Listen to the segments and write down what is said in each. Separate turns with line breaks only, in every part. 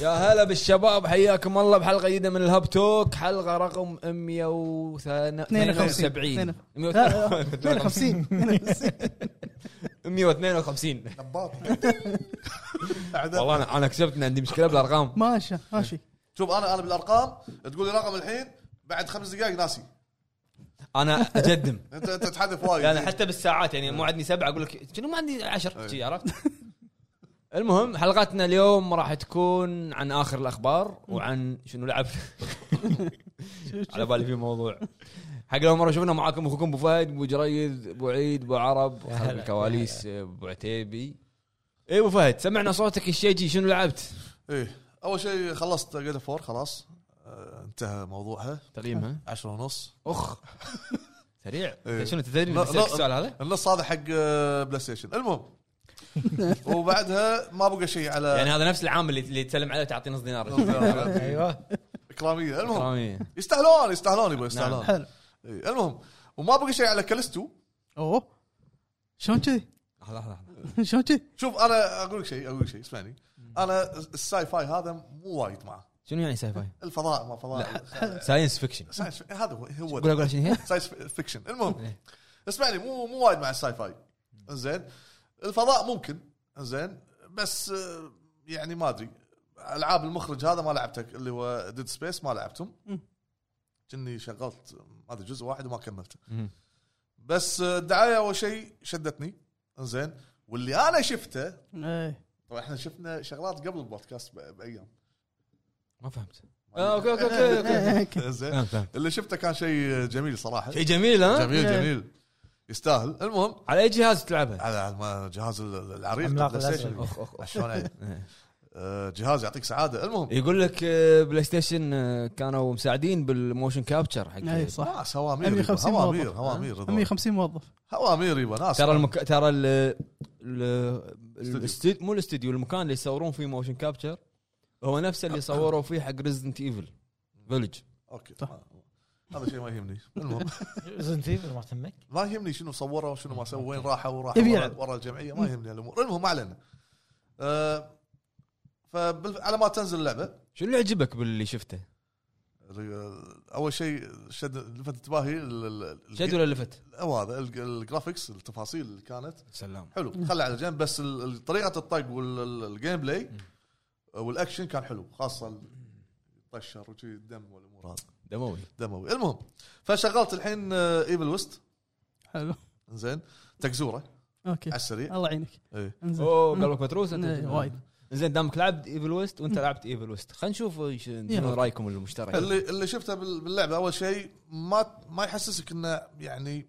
يا هلا بالشباب حياكم الله بحلقه جديده من الهاب توك حلقه رقم 172
52
152
نباط
والله انا انا كسبت إن عندي مشكله بالارقام
ماشي ماشي
شوف انا انا بالارقام تقول لي رقم الحين بعد خمس دقائق ناسي
انا اجدم
انت انت تحذف وايد
يعني حتى بالساعات يعني
إيه.
مو عندي سبعه اقول لك شنو ما عندي عشر شي عرفت؟
المهم حلقتنا اليوم راح تكون عن اخر الاخبار وعن شنو لعب على بالي في موضوع حق اول مره شفنا معاكم اخوكم ابو فهد ابو جريد ابو عيد ابو عرب
هلا.
خلف الكواليس ابو عتيبي اي ابو فهد سمعنا صوتك الشيجي شنو لعبت؟
ايه اول شيء خلصت جيد فور خلاص آه، انتهى موضوعها
تقييمها
عشرة ونص
اخ سريع
إيه.
شنو تدري إني
لا-
بسألك
لا.
السؤال هذا؟
النص هذا حق آه، بلاي ستيشن المهم وبعدها ما بقى شيء
يعني
على
هذا نفس العام اللي اللي تسلم عليه وتعطي نص دينار
ايوه
اكراميه المهم
كرامية.
يستاهلون يستاهلون يبا يستاهلون
نعم.
حلو
إيه، المهم وما بقى شيء على كالستو
اوه شلون كذي؟
لحظة، لحظة، لحظة.
شلون كذي؟
شوف انا اقول لك شيء اقول لك شيء اسمعني انا الساي فاي هذا مو وايد معه
شنو يعني ساي فاي؟
الفضاء ما فضاء
ساينس فيكشن
ساينس في- هذا هو هو
قول إيه. اقول شنو هي؟
ساينس فيكشن المهم اسمعني مو مو وايد مع الساي فاي زين الفضاء ممكن زين بس آه، يعني ما ادري العاب المخرج هذا ما لعبته اللي هو ديد سبيس ما لعبتهم كني شغلت ما ادري جزء واحد وما كملته
مم.
بس آه، الدعايه اول شيء شدتني زين واللي انا شفته
إيه.
طبعا احنا شفنا شغلات قبل البودكاست ب- بايام
ما فهمت آه، اوكي اوكي اوكي اوكي
زين
فهمت، فهمت.
اللي شفته كان شيء جميل صراحه
آه. شيء جميل ها؟ إيه.
جميل جميل يستاهل المهم
على اي جهاز تلعبها؟
على الم- جهاز ال- العريض
عملاق
بلاي ستيشن.
أخ، أخ، أخ.
شلون يعني؟ آه، جهاز يعطيك سعاده المهم
يقول لك آه، بلاي ستيشن آه، كانوا مساعدين بالموشن كابتشر حق
اي صح
ناس هوامير يبا،
150
آه، هوامير
موظف
هوامير هذول.
150 موظف
هوامير يبا ناس
ترى المك... ترى ال... ال...
استوديو.
الاستد... مو الاستديو المكان اللي يصورون فيه موشن كابتشر هو نفسه
أه.
اللي صوروا فيه حق ريزدنت ايفل فيلج
اوكي هذا شيء ما يهمني المهم
ريزنت ايفل ما تهمك
ما يهمني شنو صوروا وشنو ما سووا وين راحوا وراحوا
يبي
ورا,
يلعب.
ورا الجمعيه ما يهمني الامور المهم ما علينا آه، فبال- على ما تنزل اللعبه
شنو اللي عجبك باللي شفته؟
اول شيء شد لفت انتباهي ال- ال- ال-
شد ولا لفت؟
أو هذا ال- الجرافيكس التفاصيل اللي كانت
سلام
حلو خلى على جنب بس ال- ال- طريقه الطق والجيم بلاي والاكشن كان حلو خاصه ال- الطشر وشي الدم والامور هذه
دموي
دموي المهم فشغلت الحين ايفل ويست
حلو
زين تكزوره
اوكي
على السريع
الله يعينك
إيه.
انزين
اوه قلبك متروس انت
إيه، وايد
زين دامك لعبت ايفل ويست وانت لعبت ايفل ويست خلينا نشوف إيش- شنو
يلا.
رايكم المشترك
اللي اللي شفته بال- باللعبه اول شيء ما ما يحسسك انه يعني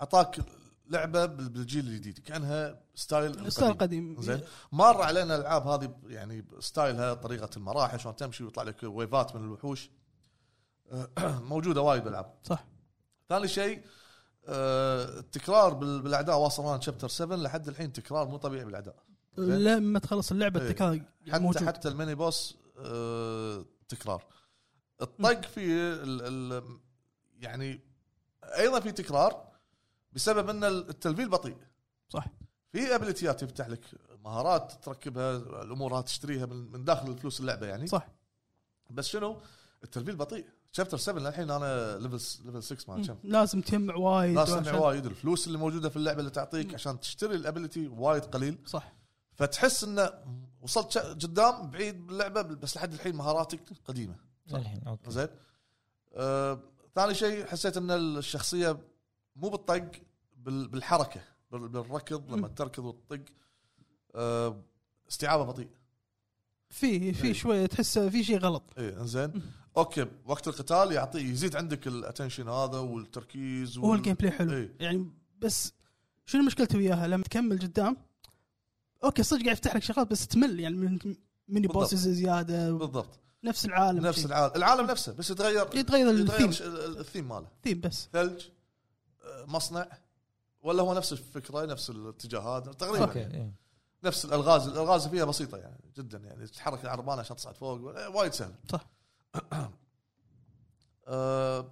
اعطاك لعبه بال- بالجيل الجديد كانها ستايل
ستايل قديم
زين مر علينا الالعاب هذه ب- يعني ستايلها طريقه المراحل شلون تمشي ويطلع لك ويفات من الوحوش أه، موجوده وايد بالالعاب
صح
ثاني شيء أه، التكرار بال- بالاعداء واصل انا شابتر 7 لحد الحين تكرار مو طبيعي بالاعداء زين.
لما تخلص اللعبه
إيه.
التكرار
حتى
موجود
حتى الميني بوس أه، تكرار الطق فيه ال ال يعني ايضا في تكرار بسبب ان التلفيل بطيء
صح
في ابيلتيات يفتح لك مهارات تركبها الامور هذه تشتريها من من داخل فلوس اللعبه يعني
صح
بس شنو التلفيل بطيء شابتر 7 للحين انا ليفل ليفل 6 ما كم
لازم تجمع وايد
ناس
وعشان-
سمع وايد الفلوس اللي موجوده في اللعبه اللي تعطيك عشان تشتري الابيلتي وايد قليل
صح
فتحس انه وصلت شا- قدام بعيد باللعبه بس لحد الحين مهاراتك قديمه
للحين اوكي
زين آه، ثاني شيء حسيت ان الشخصيه مو بالطق بال- بالحركه بال- بالركض لما تركض وتطق آه، استيعابه بطيء
في
إيه.
في شويه تحس في شيء غلط
اي انزين اوكي إيه، وقت القتال يعطي يزيد عندك الاتنشن هذا والتركيز
هو الجيم بلاي حلو
إيه.
يعني بس شنو مشكلته وياها لما تكمل قدام اوكي صدق قاعد يفتح لك شغلات بس تمل يعني من ميني
بالضبط.
بوسز زياده
بالضبط
نفس العالم
نفس
شي.
العالم العالم نفسه بس يتغير
يتغير الثيم
ش- ال- الثيم ماله
الثيم بس
ثلج آه، مصنع ولا هو نفس الفكره نفس الاتجاهات تقريبا
اوكي إيه.
نفس الالغاز الالغاز فيها بسيطه يعني جدا يعني تتحرك العربانه عشان تصعد فوق و- وايد سهل
صح.
آه،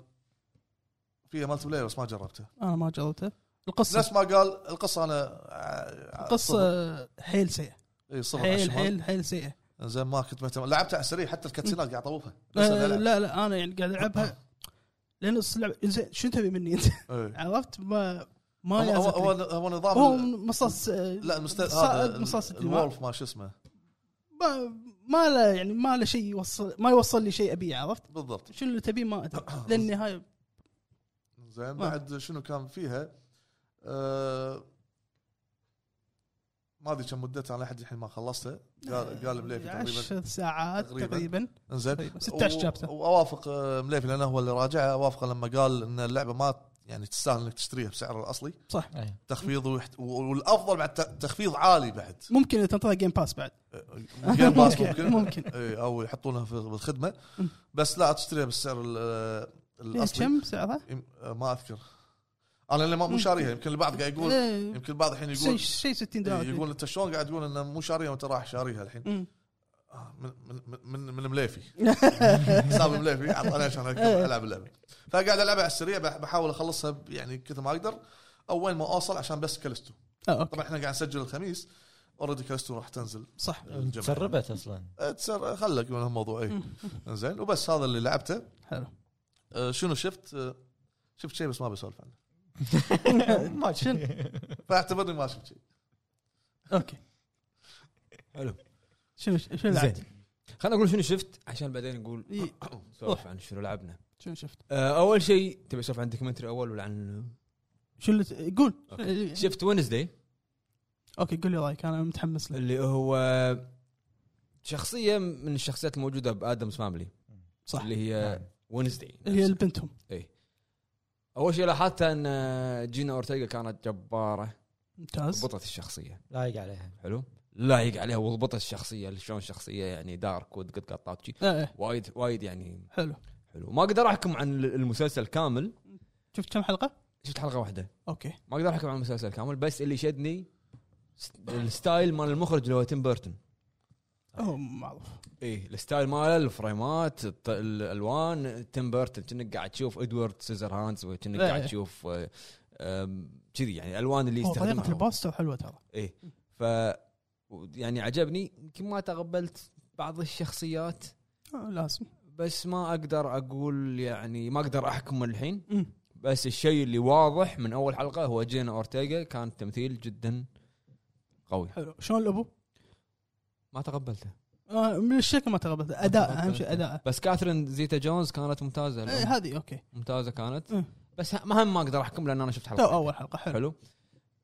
فيها مالتي بلاير بس ما جربته
انا ما جربته القصه
نفس ما قال القصه انا آه،
القصه حيل سيئه
إي، صفر على
حيل
الشمال.
حيل حيل سيئه
زين ما كنت مهتم لعبتها على السريع حتى الكاتسينات قاعد اطوفها لسه
آه،
ألعب.
لا لا انا يعني قاعد العبها لان اللعبه زين شو تبي مني انت؟
إيه.
عرفت ما
هو
ما
هو
يازت
هو-
لي.
هو نظام
هو
ال-
مصاص آه،
لا المست...
صائد
هذا
مصاص
ال-
الدماء.
الولف ما شو اسمه
ما ما له يعني ما له شيء يوصل ما يوصل لي شيء ابيه عرفت؟
بالضبط
شنو اللي تبيه ما ادري للنهايه
زين بعد شنو كان فيها آه... ما ادري كم مدتها انا لحد الحين ما خلصتها قال قال مليفي تقريبا
10 ساعات
تقريباً.
تقريبا
انزين
تقريباً 16
و-
شابتر.
واوافق آه، مليفي لانه هو اللي راجعها اوافقه لما قال ان اللعبه ما يعني تستاهل انك تشتريها بسعرها الاصلي
صح
أي.
تخفيض ويحت... و- والافضل بعد ت- تخفيض عالي بعد
ممكن إن تنطلع جيم باس بعد
آه، جيم باس ممكن
ممكن
إيه، او يحطونها في بالخدمه بس لا تشتريها بالسعر ال- آه، الاصلي
كم سعرها؟
يم- آه، ما اذكر انا اللي ما مو شاريها يمكن البعض قاعد يقول
إيه،
يمكن البعض الحين
شيء
يقول
شيء 60 دولار
إيه، يقول انت شلون قاعد تقول انه مو شاريها وانت راح شاريها الحين
مم.
آه، من من من, من مليفي حساب مليفي عطاني عشان أقدر العب اللعبه فقاعد العبها على السريع بح- بحاول اخلصها ب- يعني كثر ما اقدر او وين ما اوصل عشان بس كلستو
آه، أوكي.
طبعا احنا قاعد نسجل الخميس اوريدي كلستو راح تنزل
صح
الجمعة.
تسربت اصلا
آه، تسر خلك من الموضوع اي زين وبس هذا اللي لعبته
حلو
آه، شنو شفت آه، شفت شيء بس ما بسولف عنه
ما شنو
فاعتبرني ما شفت شيء
اوكي
حلو.
شنو شنو
زين
لعبت؟
خلينا نقول شنو شفت عشان بعدين نقول
إي،
نسولف عن شنو لعبنا
إيه. شنو شفت؟
آه، اول شيء تبي اسولف عن دوكيومنتري اول ولا عن
شنو اللي ت- قول
أوكي. شفت وينزداي
اوكي قول لي رايك انا متحمس له
اللي هو شخصيه من الشخصيات الموجوده بادمز فاملي
صح
اللي نعم. هي وينزداي
اللي هي بنتهم
اول شيء لاحظت ان آه، جينا اورتيغا كانت جباره
ممتاز
ضبطت الشخصيه
لايق عليها
حلو لايق عليها وضبطت الشخصيه شلون الشخصيه يعني دارك وقد قطات شي.
إيه، إيه،
وايد وايد يعني
حلو
حلو ما اقدر احكم عن المسلسل كامل
شفت كم حلقه؟
شفت حلقه واحده
اوكي
ما اقدر احكم عن المسلسل كامل بس اللي شدني س- الستايل مال المخرج اللي هو تيم بيرتون طيب.
هو معروف
ايه الستايل ماله الفريمات الط- الالوان تيم بيرتون كأنك قاعد تشوف ادوارد سيزر هانز وكأنك
إيه.
قاعد تشوف آه، آم، كذي يعني الالوان اللي
هو طريقه
يستخدمها هو.
البوستر حلوه ترى
ايه ف و- يعني عجبني يمكن ما تقبلت بعض الشخصيات
آه، لازم
بس ما اقدر اقول يعني ما اقدر احكم الحين
مم.
بس الشيء اللي واضح من اول حلقه هو جينا اورتيغا كان تمثيل جدا قوي
حلو شلون الابو؟
ما تقبلته
آه، من الشكل ما تقبلت اداء اهم شيء اداء
بس كاثرين زيتا جونز كانت ممتازه اليوم.
هذه اوكي
ممتازه كانت
إيه.
بس ه- مهم ما اقدر احكم لان انا شفت
تو
حلقه
اول حلقه حلو
حلو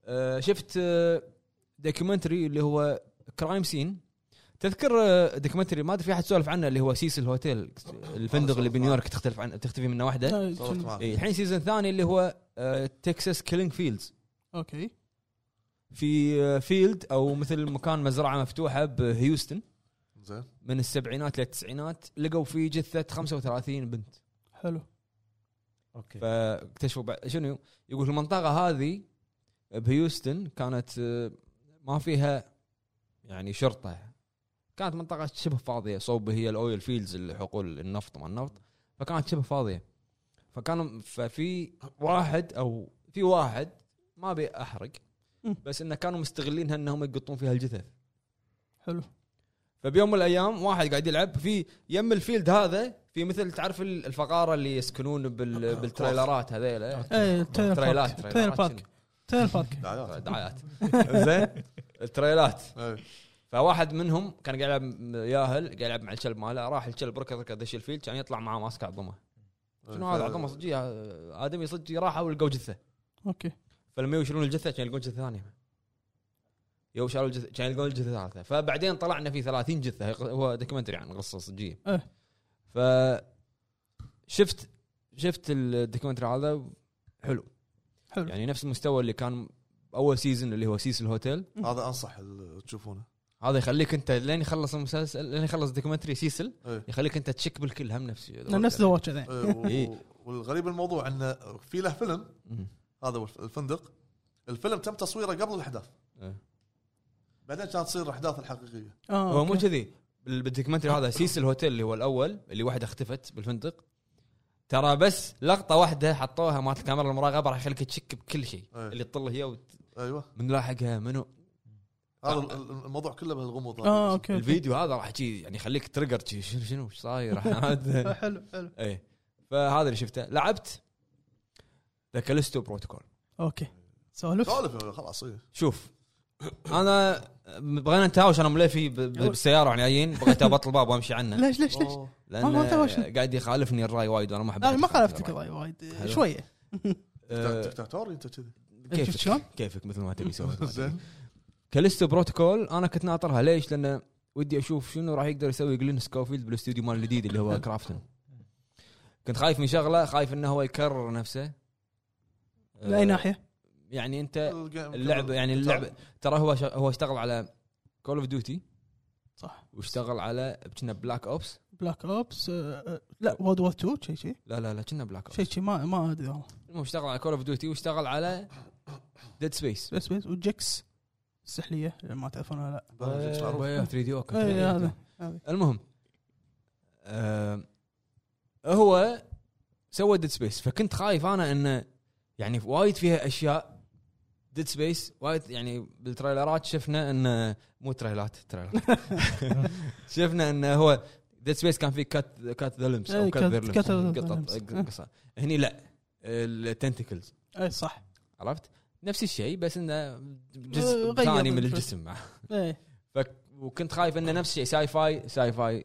آه شفت آه دوكيومنتري اللي هو كرايم سين تذكر آه، دوكيومنتري ما ادري في احد سولف عنه اللي هو سيسل هوتيل الفندق اللي بنيويورك تختلف عن تختفي منه واحده
آه،
صورت
شنو-
معك
إيه، الحين سيزون ثاني اللي هو آه، تكساس كيلينج فيلدز
اوكي
في آه، فيلد او مثل مكان مزرعه مفتوحه بهيوستن
زين
من السبعينات للتسعينات لقوا فيه جثه 35 بنت
حلو
اوكي
فاكتشفوا بعد شنو يقول المنطقه هذه بهيوستن كانت آه، ما فيها يعني شرطه كانت منطقه شبه فاضيه صوب هي الاويل فيلدز اللي حقول النفط ما النفط فكانت شبه فاضيه فكان ففي واحد او في واحد ما ابي احرق
مم.
بس انه كانوا مستغلينها انهم يقطون فيها الجثث
حلو
فبيوم من الايام واحد قاعد يلعب في يم الفيلد هذا في مثل تعرف ال- الفقاره اللي يسكنون بال بالتريلرات إيه؟ هذيلا
ايه تريلر
تريلات
بارك تريلر بارك تريلر بارك
شنو؟
دعايات
دعايات زين التريلات
إيه.
فواحد منهم كان قاعد يلعب م- ياهل قاعد يلعب مع الكلب ماله راح الكلب ركض ركض دش الفيلد كان يطلع معاه ماسك عظمه شنو
إيه.
هذا عظمه صجيه ادمي صجي راحوا ولقوا جثه
اوكي
فلما يشيلون الجثه كان يلقون جثه ثانيه يو شالوا الجثه كان يلقون الجثه ثالثه فبعدين طلعنا في 30 جثه هو دوكيومنتري عن قصه صجيه
إيه.
ف شفت شفت الدوكيومنتري هذا حلو
حلو.
يعني نفس المستوى اللي كان اول سيزون اللي هو سيسل هوتيل
هذا انصح ال- تشوفونه
هذا يخليك انت لين يخلص المسلسل لين يخلص دوكيومنتري سيسل
إيه.
يخليك انت تشك بالكل هم نفسي
نفس ذا يعني. واتشر ذا
إيه، و-
إيه.
والغريب الموضوع انه في له فيلم
مم.
هذا هو الف- الفندق الفيلم تم تصويره قبل الاحداث
إيه.
بعدين كانت تصير الاحداث الحقيقيه
آه،
هو مو
أوكي. آه.
كذي بال- بالدوكيومنتري هذا سيس الهوتيل اللي هو الاول اللي واحده اختفت بالفندق ترى بس لقطه واحده حطوها مالت الكاميرا المراقبه راح يخليك تشك بكل شيء
إيه.
اللي تطل هي وت-
ايوه
من لاحقها منو
هذا ال- ال- الموضوع كله بهالغموض هذا.
اه اوكي أوكي.
الفيديو هذا راح شي يعني يخليك تريجر شي شنو شنو ايش صاير عاد
آه، حلو حلو
ايه فهذا اللي شفته لعبت ذا كاليستو بروتوكول
اوكي سولف
طيب.
سولف خلاص إيه.
شوف انا بغينا نتهاوش انا مليفي ب- ب- بالسياره يعني جايين بغيت ابطل باب وامشي عنه
ليش ليش ليش؟ ما- ما نتهاوش.
لان قاعد يخالفني الراي وايد وانا ما احب
لا ما
أتخالف
خالفتك
الرأي.
الراي وايد
طيب. حلو.
شويه آه.
أه،
دكتاتوري انت كذي
شفت شلون؟
كيفك كيفك مثل ما تبي سوي
زين
كاليستو بروتوكول انا كنت ناطرها ليش؟ لان ودي اشوف شنو راح يقدر يسوي جلين سكوفيلد بالاستوديو مال الجديد اللي هو كرافتن كنت خايف من شغله خايف انه هو يكرر نفسه أه،
من اي ناحيه؟
يعني
أه،
انت
آه،
اللعبه يعني اللعبه ترى هو ش- هو اشتغل على كول اوف ديوتي
صح
واشتغل على كنا بلاك اوبس
بلاك اوبس آه، لا وورد وور 2 شيء شيء
لا لا لا كنا بلاك اوبس
شيء شيء ما ما ادري والله
المهم اشتغل على كول اوف ديوتي واشتغل على ديد سبيس
بس بس وجكس السحليه اللي ما تعرفونها لا آه،
3 دي
اي إيه، هذا
المهم آه هو سوى ديد سبيس فكنت خايف انا انه يعني وايد فيها اشياء ديد سبيس وايد يعني بالتريلرات شفنا انه مو تريلات تريلات شفنا انه هو ديد سبيس كان فيه كات كات ذا لمس او
إيه،
كات
cut-
ذا
cut the limbs. إيه.
قطط قصة. هني لا التنتكلز
اي إيه، صح
عرفت نفس الشيء بس انه
آه،
جزء
غير
ثاني من
بالفعل.
الجسم
اي
فك وكنت خايف انه نفس الشيء ساي فاي ساي فاي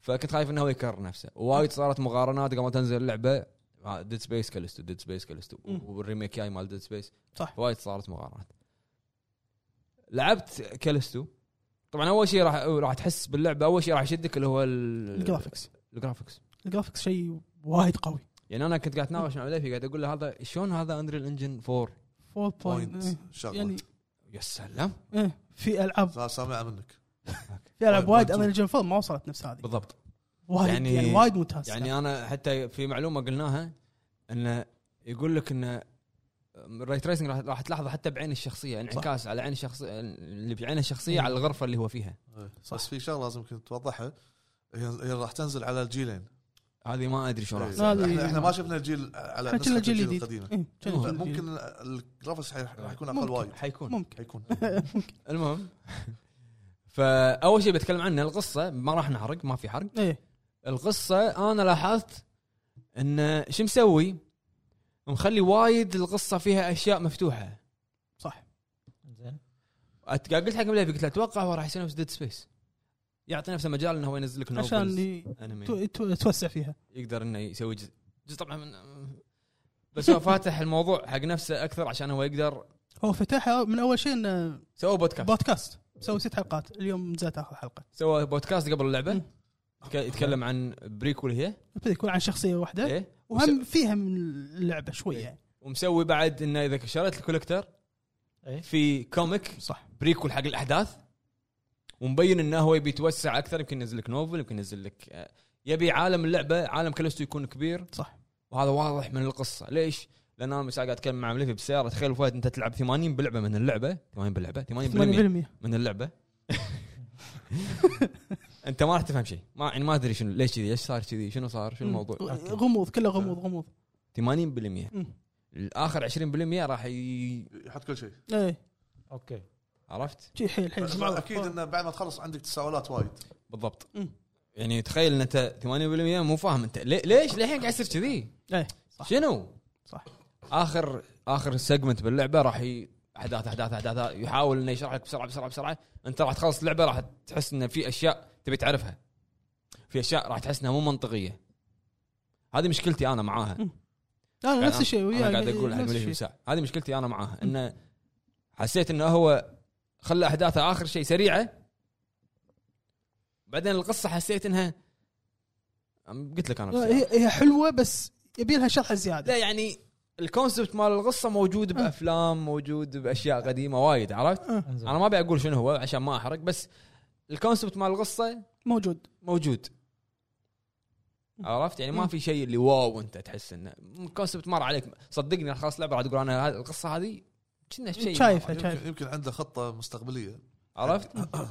فكنت خايف انه هو يكرر نفسه وايد صارت مقارنات قبل ما تنزل اللعبه ديد سبيس كالستو ديد سبيس كالستو
مم.
والريميك جاي مال ديد سبيس
صح.
وايد صارت مقارنات لعبت كالستو طبعا اول شيء راح راح تحس باللعبه اول شيء راح يشدك اللي هو ال-
الجرافكس
الجرافكس
الجرافكس شيء وايد قوي
يعني انا كنت قاعد اتناقش مع مليفي قاعد اقول له هذا شلون هذا اندريل انجن 4
4
بوينت
بوينت
شغله
يعني
يا سلام
إيه، في العاب
سا- سامعها منك
في العاب وايد
وايد
انا الجيم فول ما وصلت نفس هذه
بالضبط
وايد
يعني-
يعني, وايد ممتاز
يعني انا حتى في معلومه قلناها انه يقول لك انه الري تريسنج راح, راح تلاحظه حتى بعين الشخصيه انعكاس على عين الشخصيه اللي بعين الشخصيه على الغرفه اللي هو فيها
إيه.
صح.
بس في شغله لازم كنت توضحها هي هي راح تنزل على الجيلين
هذه ما ادري شو راح
إيه.
يصير.
هذه-
احنا احنا ما شفنا الجيل على
احنا كنا
نسخه
جيل
الجيل
جديد
القديمه
إيه، جيل
ممكن.
جديد.
ممكن الجرافكس حي- راح يكون اقل
ممكن.
وايد
حيكون
ممكن
حيكون
المهم فاول شيء بتكلم عنه القصه ما راح نحرق ما في حرق
ايه
القصه انا لاحظت انه شو مسوي؟ مخلي وايد القصه فيها اشياء مفتوحه
صح
زين
أت- قاعد قلت حق مليفي قلت له اتوقع هو راح يسوي نفس ديد سبيس يعطي نفسه مجال انه هو ينزل لك novels.
عشان ي-
انمي
تو- تو- توسع فيها
يقدر انه يسوي جزء جزء طبعا من بس هو فاتح الموضوع حق نفسه اكثر عشان هو يقدر
هو فتحها من اول شيء انه
سوى بودكاست
بودكاست مسوي ست حلقات اليوم نزلت اخر حلقه
سوى بودكاست قبل اللعبه
مم.
يتك- يتكلم عن بريكول هي
يكون عن شخصيه واحده
ايه
إيه. وهم فيها من اللعبه شويه
إيه.
يعني
ومسوي بعد انه اذا شريت الكوليكتر
إيه.
في كوميك
صح
بريكول حق الاحداث ومبين انه هو يبي يتوسع اكثر يمكن ينزل لك نوفل يمكن ينزل لك آه، يبي عالم اللعبه عالم كلستو يكون كبير
صح.
وهذا واضح من القصه ليش؟ لان انا مساء قاعد اتكلم مع مليفي بالسياره تخيل فهد انت تلعب 80 بلعبه من اللعبه 80 بلعبه 80%
80%
من اللعبه انت ما راح تفهم شيء ما يعني ما ادري شنو ليش كذي ليش صار كذي شنو صار شنو الموضوع
مم. غموض كله غموض غموض
80%
مم.
الاخر 20% راح ي...
يحط كل شيء
ايه
اوكي
عرفت
شي حيل حيل
بس اكيد انه بعد ما تخلص عندك تساؤلات وايد
بالضبط
مم.
يعني تخيل ان انت 80% مو فاهم انت لي- ليش للحين قاعد يصير كذي
ايه صح
شنو
صح
اخر اخر سيجمنت باللعبه راح ي... احداث احداث احداث يحاول انه يشرح لك بسرعه بسرعه بسرعه انت راح تخلص اللعبه راح تحس ان في اشياء تبي تعرفها في اشياء راح تحس انها مو منطقيه هذه مشكلتي انا معاها
مم. لا لا، نفس الشيء يعني
انا قاعد اقول حق
نفس
مليفي
الشيء.
مساع هذه مشكلتي انا معاها انه حسيت انه هو خلى احداثه اخر شيء سريعه بعدين القصه حسيت انها أم- قلت لك انا
لا،
بسرعة.
هي هي حلوه بس يبي لها شرح زياده
لا يعني الكونسبت مال القصه موجود
آه.
بافلام موجود باشياء قديمه وايد عرفت؟
انزين
انا ما ابي اقول شنو هو عشان ما احرق بس الكونسبت مال القصه
موجود
موجود عرفت يعني ما في شيء اللي واو انت تحس انه الكونسبت مر عليك صدقني خلاص لعبه راح تقول انا هذه- القصه هذه كنا شيء
شايفها شايفها
يمكن, يمكن عنده خطه مستقبليه
عرفت؟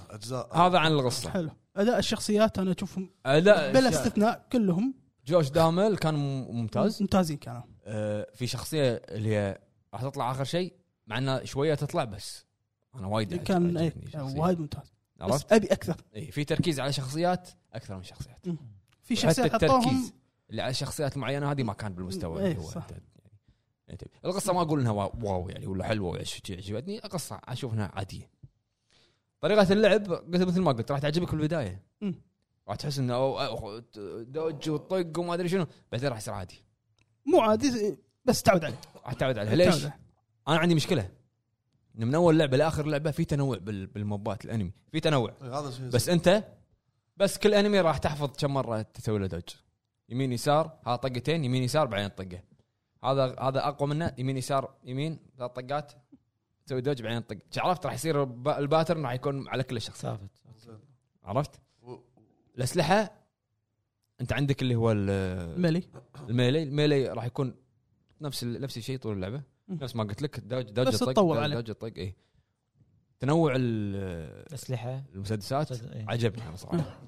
اجزاء
هذا عن القصه
حلو اداء الشخصيات انا اشوفهم بلا
اداء
استثناء كلهم
جوش دامل كان م- ممتاز
ممتازين كانوا
آه، في شخصيه اللي هي راح تطلع اخر شيء مع انها شويه تطلع بس انا وايد عجب-
كان
عجبتني
إيه،
شخصية.
وايد ممتاز بس
عرفت؟
ابي اكثر
اي في تركيز على شخصيات اكثر من شخصيات
في
حتى
شخصيات
التركيز
حطوهم
اللي على شخصيات معينه هذه ما كان بالمستوى
إيه،
اللي هو
صح.
أنت- يعني أنت- القصه ما اقول انها وا- واو يعني ولا حلوه ولا شي- شي عجبتني القصه اشوف انها عاديه طريقه اللعب قلت مثل ما قلت راح تعجبك في البدايه
مم.
راح تحس انه أو- أو- دوج وطق وما ادري شنو بعدين راح يصير عادي
مو عادي بس تعود عليه
راح تعود عليها
تعود
ليش؟
عليه.
انا عندي مشكله إن من اول لعبه لاخر لعبه في تنوع بال- بالموبات الانمي في تنوع
هذا شيء
بس انت بس كل انمي راح تحفظ كم مره تسوي له دوج يمين يسار ها طقتين يمين يسار بعدين طقه هذا هذا اقوى منه يمين يسار يمين ثلاث طقات تسوي دوج بعدين طق عرفت راح يصير الب- الباترن راح يكون على كل الشخصيات
ثابت
عرفت
و-
الاسلحه انت عندك اللي هو ال-
ملي
الميلي الميلي راح يكون نفس ال- نفس الشيء طول اللعبه
مم.
نفس ما قلت لك دوج دوج
بس
طق
تطور
دوج-
عليه.
دوج طق اي تنوع ال-
اسلحه
المسدسات
صدق، إيه.
عجبني انا صراحه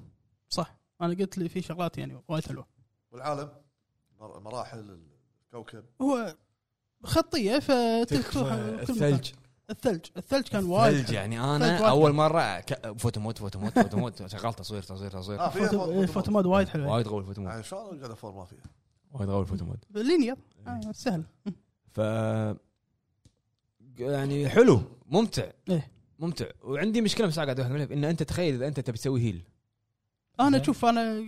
صح انا قلت لي في شغلات يعني وايد حلوه
والعالم مر- مراحل الكوكب
هو خطيه فتكفى
الثلج
الثلج الثلج كان وايد
الثلج
حلو.
يعني
الثلج
انا
وايد
اول مره ك- فوتو موت فوتو موت فوتو موت شغال تصوير تصوير تصوير
اه فيها
فوتو- إيه، فوتو
فوتو
مود وايد حلو
وايد قوي فوتو موت
يعني شلون قاعد فور ما فيها
وايد قوي فوتو موت
لينير آه، سهل
ف يعني حلو ممتع
إيه.
ممتع وعندي مشكله بس قاعد أقولها، ان انت تخيل اذا انت تبي تسوي هيل آه،
انا اشوف انا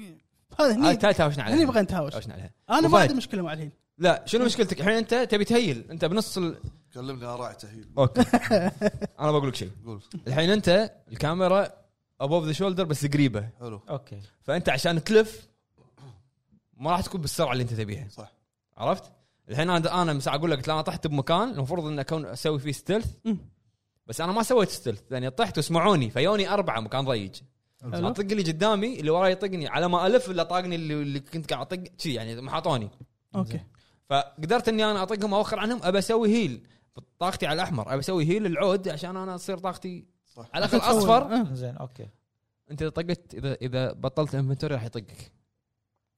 هذا
هاي
هني
تعال تعاوشنا عليها
هني بغينا نتهاوش
تعاوشنا عليها
انا ما
وفهد.
عندي مشكله مع الحين
لا شنو مشكلتك الحين انت تبي تهيل انت بنص ال...
كلمني انا راعي تهيل
اوكي انا بقول لك شيء
قول
الحين انت الكاميرا ابوف ذا شولدر بس قريبه
حلو
اوكي
فانت عشان تلف ما راح تكون بالسرعه اللي انت تبيها
صح.
عرفت الحين انا انا من ساعه اقول لك قلت لا، انا طحت بمكان المفروض ان اكون اسوي فيه ستيلث
مم.
بس انا ما سويت ستيلث لاني طحت وسمعوني فيوني اربعه مكان ضيق
حلو.
اطق اللي قدامي اللي وراي يطقني على ما الف الا طاقني اللي, اللي كنت قاعد اطق شي يعني ما حاطوني
اوكي
فقدرت اني انا اطقهم اوخر عنهم ابى اسوي هيل طاقتي على الاحمر ابى اسوي هيل العود عشان انا اصير طاقتي
صح
على الاقل اصفر
آه،
زين اوكي
انت اذا طقت اذا اذا بطلت انفنتوري راح يطقك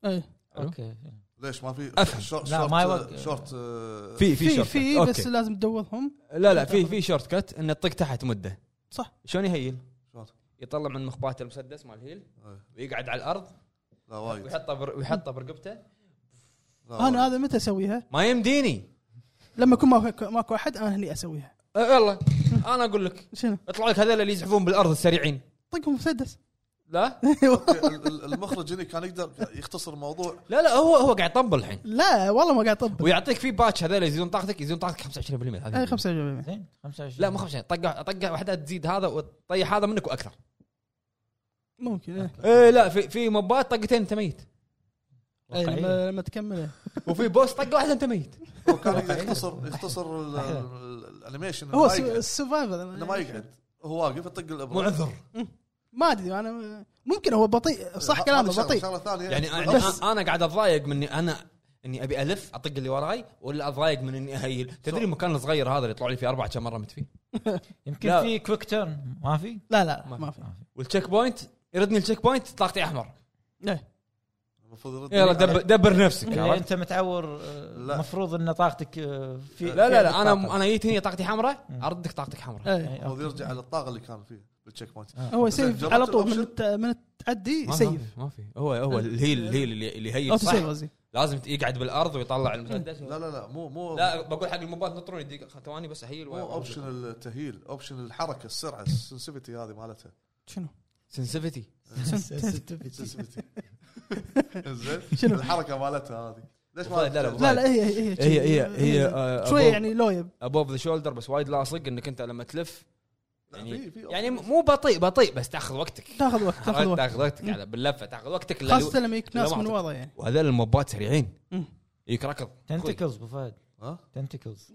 إيه.
حلو.
اوكي
ليش ما في
أفهم.
شورت
لا، ما يوقف.
شورت آه،
في
في
shortcut.
في
أوكي.
بس لازم تدورهم
لا لا في في شورت كت انه تطق تحت مده
صح.
شلون يهيل؟
شلون؟
يطلع من مخباته المسدس مال هيل
إيه.
ويقعد على الارض
لا وايد
ويحطه بر... ويحطه برقبته
لا،
انا
وايد.
هذا متى اسويها؟
ما يمديني
لما يكون ماكو ماكو احد انا هني اسويها
أه، يلا انا اقول لك
شنو؟
اطلع لك هذول اللي يزحفون بالارض السريعين
طقهم مسدس
لا
أوكي، ال- ال- المخرج هنا كان يقدر يختصر الموضوع
لا لا هو هو قاعد يطبل الحين
لا والله ما قاعد اطبق
ويعطيك في باتش هذول يزيدون طاقتك يزيدون طاقتك 25%
اي
هذا
25
زين 25
لا مو 25 طقه طقه واحده تزيد هذا وتطيح هذا منك واكثر
ممكن إيه.
ايه لا في في موبات طقتين انت ميت
إيه،
واقعية.
لما لما تكمل إيه.
وفي بوس طقه واحده انت ميت
هو كان يقدر يختصر يختصر ال- ال- الانيميشن
هو
إنه ما
الس-
يقعد-
السرفايفر
انه ما يقعد هو واقف يطق الابره
مو عذر
ما ادري انا ممكن هو بطيء صح كلامه
هذه شغلة-
بطيء
شغله ثانيه
يعني أنا-
بس-
انا انا قاعد اتضايق من إني انا اني ابي الف اطق اللي وراي ولا اتضايق من اني اهيل تدري المكان الصغير هذا اللي يطلع لي فيه اربع كم مره مت فيه
يمكن
لا.
في كويك تيرن ما في؟
لا لا
ما
ما في
والتشيك بوينت يردني التشيك بوينت طاقتي احمر
إيه.
المفروض يرد
يلا
عليك.
دبر, دبر نفسك
إذا
عرفت؟
انت إيه، متعور
لا.
المفروض ان طاقتك آه، في
لا لا لا انا
فيها
انا جيت هنا طاقتي حمراء
مم.
اردك طاقتك حمراء
إيه.
طاقة.
المفروض يرجع على الطاقه اللي كان فيها بالتشيك بوينت
آه.
هو
زين،
يسيف
جربت
على طول من
الأوبشن؟
الت- من التعدي
ما- ما
يسيف
في- ما في هو هو الهيل الهيل اللي اللي يهيل
اوتو سيف
صح
قصدي
لازم يقعد بالارض ويطلع المسدس
لا لا لا مو مو
لا بقول حق الموبايل نطروني دقيقه ثواني بس اهيل
مو اوبشن التهيل اوبشن الحركه السرعه السنسيفيتي هذه مالتها
شنو؟
سنسيفيتي
سنسيفيتي زين الحركه مالتها هذه ليش ما
لا، لا،
لا لا هي هي
هي هي آه، هي
شوي يعني لويب
ابوف ذا شولدر بس وايد لاصق انك انت لما تلف
في- في
يعني مو بطيء بطيء بس تاخذ وقتك
تاخذ وقت تاخذ
عرفت؟
وقت
تاخذ وقتك على باللفه تاخذ وقتك اللي-
خاصه لما يجيك ناس
لا، ما
من
أعتقد.
ورا يعني
وهذول الموبات سريعين
مم.
يجيك ركض
تنتكلز ابو فهد
ها؟
تنتكلز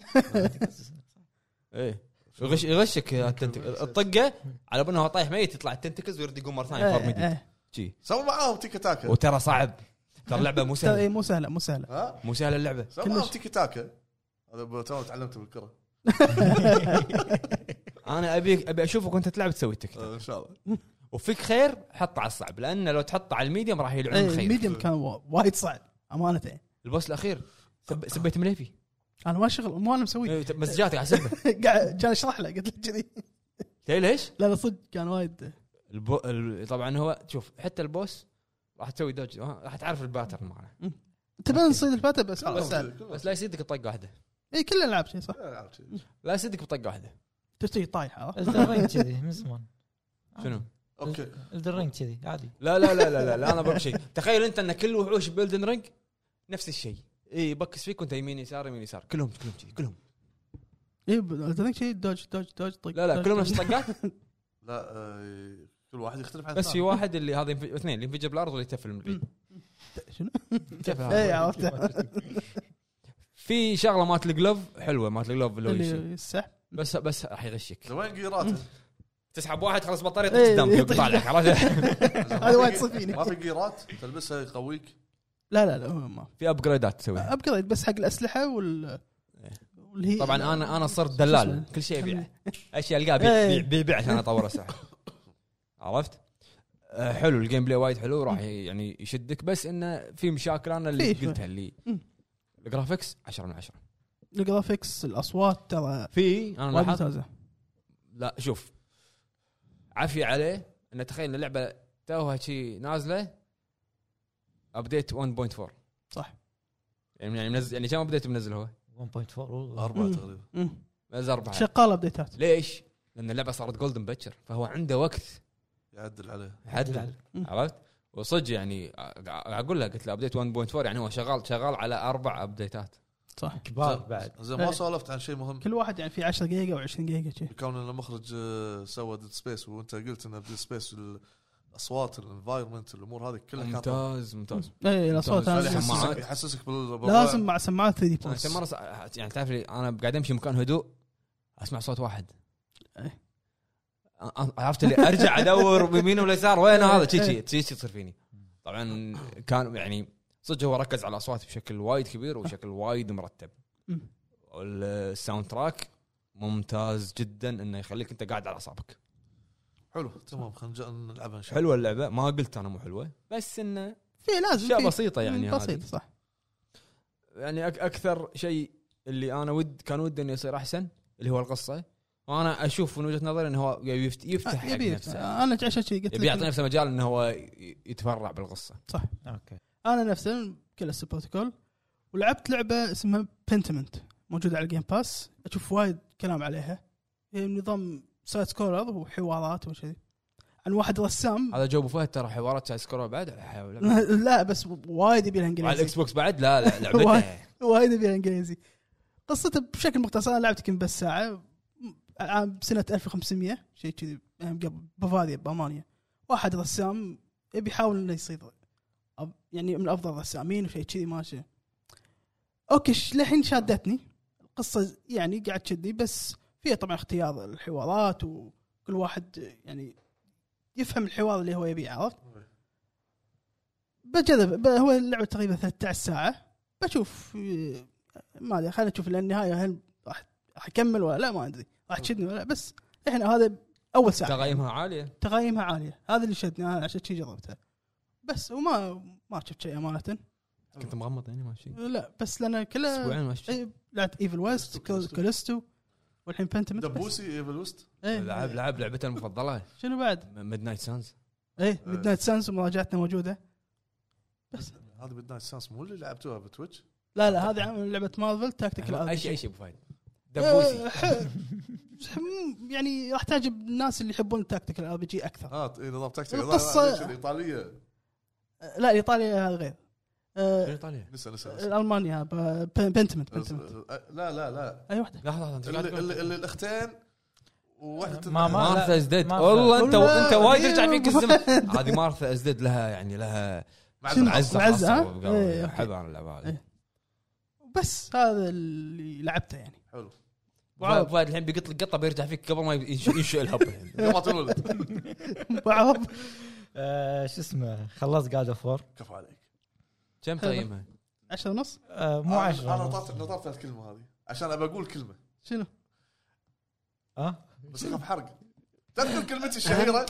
ايه يغش يغشك التنتكل الطقه على بالنا هو طايح ميت يطلع التنتكلز ويرد يقوم مره ثانيه فورم
إيه،
جديد
إيه.
جي.
سووا معاهم تيكا تاكا
وترى صعب ترى اللعبه مو
ترى إيه،
سهله
مو سهله مو سهله
ها
مو سهله اللعبه
سووا معاهم
كلش.
تيكا تاكا هذا تو تعلمته بالكره
انا ابي ابي اشوفك وانت تلعب تسوي تيك توك
آه، ان شاء الله
وفيك خير حطه على الصعب لانه لو تحطه على الميديوم راح يلعون
إيه،
خير
الميديم كان وا- وايد صعب امانه يعني.
البوس الاخير سب- سبيت مليفي
انا ما شغل مو انا مسويه
إيه، مسجاتي على سبه
قاعد كان اشرح له قلت له كذي
تدري ليش؟
لا لا صدق كان وايد
البو... ال... طبعا هو شوف حتى البوس راح تسوي دوج ها، راح تعرف الباترن ماله
تبين نصيد الفتى بس
خلاص.
بس, بس لا يصيدك بطقه واحده
اي كل الالعاب شيء صح
لا يصيدك بطقه واحده
تشتري طايحه عرفت؟
الدرينج كذي من زمان آه.
شنو؟
اوكي
الدرينج كذي عادي
لا لا لا لا لا, لا انا بقول شيء تخيل انت ان كل وحوش بيلدن رينج نفس الشيء اي يبكس فيك وانت يمين يسار يمين يسار كلهم كلهم كذي كلهم
اي تذكر شيء دوج دوج دوج طق
لا لا
دوج،
كلهم
طق.
نفس الطقات
لا آه، كل واحد يختلف عن
بس في
الثاني.
واحد اللي هذا ينف- اثنين اللي ينفجر بالارض واللي يتفل من بعيد
شنو؟
يتفل
اي
هذا.
إيه، عرفت
في شغله مالت الجلوف حلوه مالت الجلوف اللي هو يشيل.
اللي السحب
بس بس راح يغشك
لوين قيراته؟
تسحب واحد خلاص بطاريه
إيه،
قدام
يطيح.
يقطع لك عرفت؟
هذا وايد صفيني.
ما في قيرات تلبسها يقويك
لا لا لا هو ما
في ابجريدات تسويها
ابجريد بس حق الاسلحه وال واللي هي
طبعا انا انا صرت
إيه. شو
دلال
اسمه؟ إيه.
كل شيء ابيعه
كمل.
اشياء القاها بيع- بيع بيع بيع عشان اطور اسلحه عرفت؟ آه، حلو الجيم بلاي وايد حلو راح ي- يعني يشدك بس انه في مشاكل انا اللي
فيه شوي.
قلتها اللي
مم.
الجرافيكس 10 من 10
الجرافكس الاصوات ترى
في انا
وايد
لاحظت
ممتازه
لا شوف عافية عليه ان تخيل إن اللعبه توها شي نازله ابديت 1.4
صح.
يعني يعني منزل يعني كم ابديت منزل هو؟
1.4 أوه.
اربعه
مم.
تقريبا
مم.
منزل اربعه
شغاله ابديتات
ليش؟ لان اللعبه صارت جولدن بتشر فهو عنده وقت
يعدل عليه
عدل
مم.
عرفت؟ وصدق يعني أ- اقول لها قلت له ابديت 1.4 يعني هو شغال شغال على اربع ابديتات
صح
كبار بعد
زين ما
إيه.
سولفت عن شيء مهم
كل واحد يعني في 10 دقيقه و20 دقيقه شي إيه،
كون ان المخرج آه، سوى ديد سبيس وانت قلت ان ديد سبيس الاصوات الانفايرمنت الامور هذه كلها كانت
ممتاز ممتاز
اي الاصوات
ممتاز.
هذا
لازم
سماعات.
يحسسك يحسسك بال
لازم مع سماعات 3 دي
انا كم مره
بوينت
س- يعني تعرف لي انا قاعد امشي مكان هدوء اسمع صوت واحد
إيه.
أ- أ- عرفت اللي ارجع ادور يمين ولا يسار وين
إيه.
هذا شي شي شي شي تصير فيني طبعا كان يعني صدق هو ركز على الاصوات بشكل وايد كبير وشكل وايد مرتب
مم.
الساوند تراك ممتاز جدا انه يخليك انت قاعد على اعصابك
حلو تمام خلينا نلعبها ان شاء
حلوه اللعبه ما قلت انا مو حلوه بس انه
في لازم
اشياء
في-
بسيطه يعني
مم،
هذه
بسيطه صح
يعني أك اكثر شيء اللي انا ود كان ودي انه يصير احسن اللي هو القصه وانا اشوف من وجهه نظري انه هو يفت- آه، يفتح حق
يبي
نفسه
انا عشان كذي قلت
يبي
لك
يعطي نفسه مجال انه هو ي- يتفرع بالقصه
اوكي
انا نفسي كلاس بروتوكول ولعبت لعبه اسمها بنتمنت موجوده على الجيم باس اشوف وايد كلام عليها هي نظام سايد سكولر وحوارات وشذي عن واحد رسام
هذا جو ابو فهد ترى حوارات سايد سكرول بعد حول الله.
لا بس وايد يبي لها
على
انجليزي
الاكس بوكس بعد لا لا
وايد.
لعبته
وايد يبي لها انجليزي قصته بشكل مختصر انا لعبت يمكن بس ساعه عام سنه 1500 شيء كذي أيام قبل بافاريا بامانيا واحد رسام يبي يحاول انه يصير أب- يعني من افضل الرسامين وشيء كذي ماشي اوكي ش- للحين شادتني القصه يعني قاعد تشدني بس فيها طبعا اختيار الحوارات وكل واحد يعني يفهم الحوار اللي هو يبيه عرفت؟ بجذب ب- هو اللعبه تقريبا 13 ساعه بشوف آه، ما ادري خلينا نشوف للنهايه هل راح راح اكمل ولا لا ما ادري راح تشدني ولا لا بس احنا هذا اول ساعه
تقييمها عاليه
تقييمها عاليه هذا اللي شدني انا عشان شي جربتها بس وما ما شفت شيء امانه
كنت مغمض يعني ماشي
لا بس لان كله
اسبوعين ماشي
إيه، لعبت ايفل ويست
كاليستو.
كولستو والحين بنتمنت بس.
دبوسي ايفل وست
إيه.
لعب لعب لعبته المفضله
شنو بعد؟
ميد نايت سانز
ايه ميد نايت سانس ومراجعتنا موجوده بس
هذا ميد نايت سانس مو اللي لعبتوها بتويتش
لا لا هذه عمل لعبه مارفل تاكتيكال
اي شيء اي شيء ابو فهد دبوسي
إيه، يعني راح تعجب الناس اللي يحبون التاكتيكال ار بي جي اكثر
اه اي نظام تكتيك
القصة-
الايطاليه
لا ايطاليا هذا غير
شنو
آه،
ايطاليا
نسى نسى نسى.
المانيا ب- بن- بنتمنت بنتمنت
آه، لا لا لا
اي واحده
لحظه لحظة، انت قاعد
اللي,
تقول-
اللي, اللي الاختين وواحده
ما- ما-
مارثا ازدد
مارثا.
والله انت
والله
انت وايد رجع
يا
فيك
أبو
الزمن هذه مارثا ازدد لها يعني لها
شنو؟
عزه
معزة،
خاصة
ها؟
وقال-
إيه،
احب انا اللعبه هذه
إيه. بس هذا اللي لعبته يعني
حلو
فهد فهد الحين بيقط لك قطه بيرجع فيك قبل ما ينشئ ينشئ الهب الحين.
ما تولد
بعض
آه، شو اسمه خلصت جاد اوف وور
كفو عليك
كم طيب؟ تقييمها؟
10 ونص
آه، مو
أنا-
10
انا نطرت نطرت الكلمه هذه عشان ابى اقول كلمه
شنو؟
ها
بس اخاف حرق تذكر كلمتي الشهيره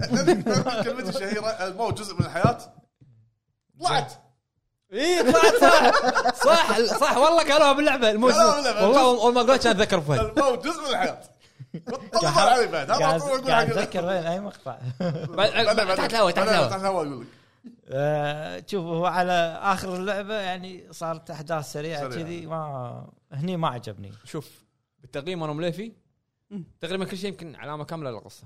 تذكر كلمتي الشهيره الموت جزء من الحياه طلعت
اي صح صح صح صح والله قالوها باللعبه الموسم
قالوها باللعبة.
والله اول ما قلت كان ذكر فهد
الموت جزء من الحياه بطل علي بعد هذا
قاعد
على طول اقول
قاعد
حق
اتذكر وين اي مقطع
بعد- بعد- تحت الهواء تحت الهواء
تحت الهواء اقول لك
آه، شوف هو على اخر اللعبه يعني صارت احداث سريعه
سريعة.
كذي ما هني ما عجبني
شوف بالتقييم انا مليفي
مم.
تقريبا كل شيء يمكن علامه كامله للقصه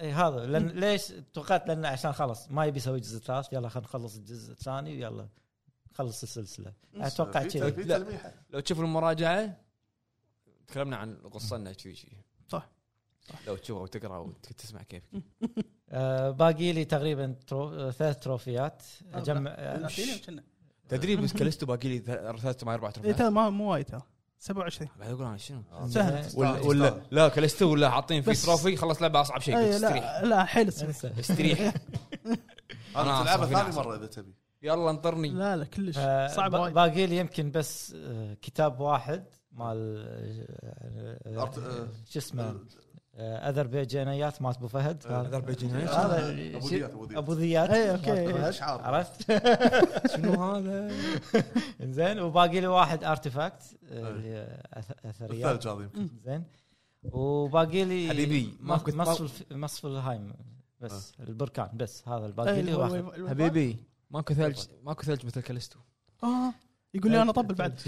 اي هذا لان ليش توقعت لان عشان خلاص ما يبي يسوي جزء ثالث يلا خلينا نخلص الجزء الثاني ويلا نخلص السلسله اتوقع
في-
كذي
في
لا.
تلميحه
لو تشوف المراجعه تكلمنا عن القصه انها شي شي
صح.
لو تشوفها وتقرا وتسمع كيفك
آه، باقي لي تقريبا ترو... آه، ثلاث تروفيات اجمع آه،
ثلاثين كنا.
تدري بس كلستو باقي لي ثلاث مع اربع
إيه،
ترفعات
ترى ما مو وايد ترى 27
بعد اقول انا شنو
سهل.
زين.
ولا ولا لا كلستو ولا حاطين في
طيب. بس-
تروفي خلاص لعبه اصعب شيء
إيه،
قلت استريح
لا لا حيل سهل.
انسى
استريح
انا
أنا
تلعبها
أصلاً
ثاني
في ناس.
مره اذا تبي
يلا انطرني
لا لا كلش
آه،
صعب
ب-
وايد
باقي لي يمكن بس آه، كتاب واحد مال آه،
أرت- آه.
آه، شو اسمه آه، اذربيجانيات مالت ابو فهد
آه،
أذربيجانيات.
هذا
أبو
شي-
ذيات، أبو آه. ذيات.
ابو ذيات
إيه،
مالت
أوكي.
طيب،
أبو فهد.
أشعار.
عرفت
شنو هذا
زين وباقي لي واحد ارتفاكت
إيه.
اللي أث- اثريات
الثلج هذا يمكن
زين وباقي لي
حبيبي، ما
مص-
كنت- ما- آه.
مصف مصف الهايم بس البركان بس هذا الباقي
إيه،
لي
الو-
واحد
الو- الو-
حبيبي ماكو ثلج ماكو ثلج مثل كلستو
آه، يقول لي انا طبل بعد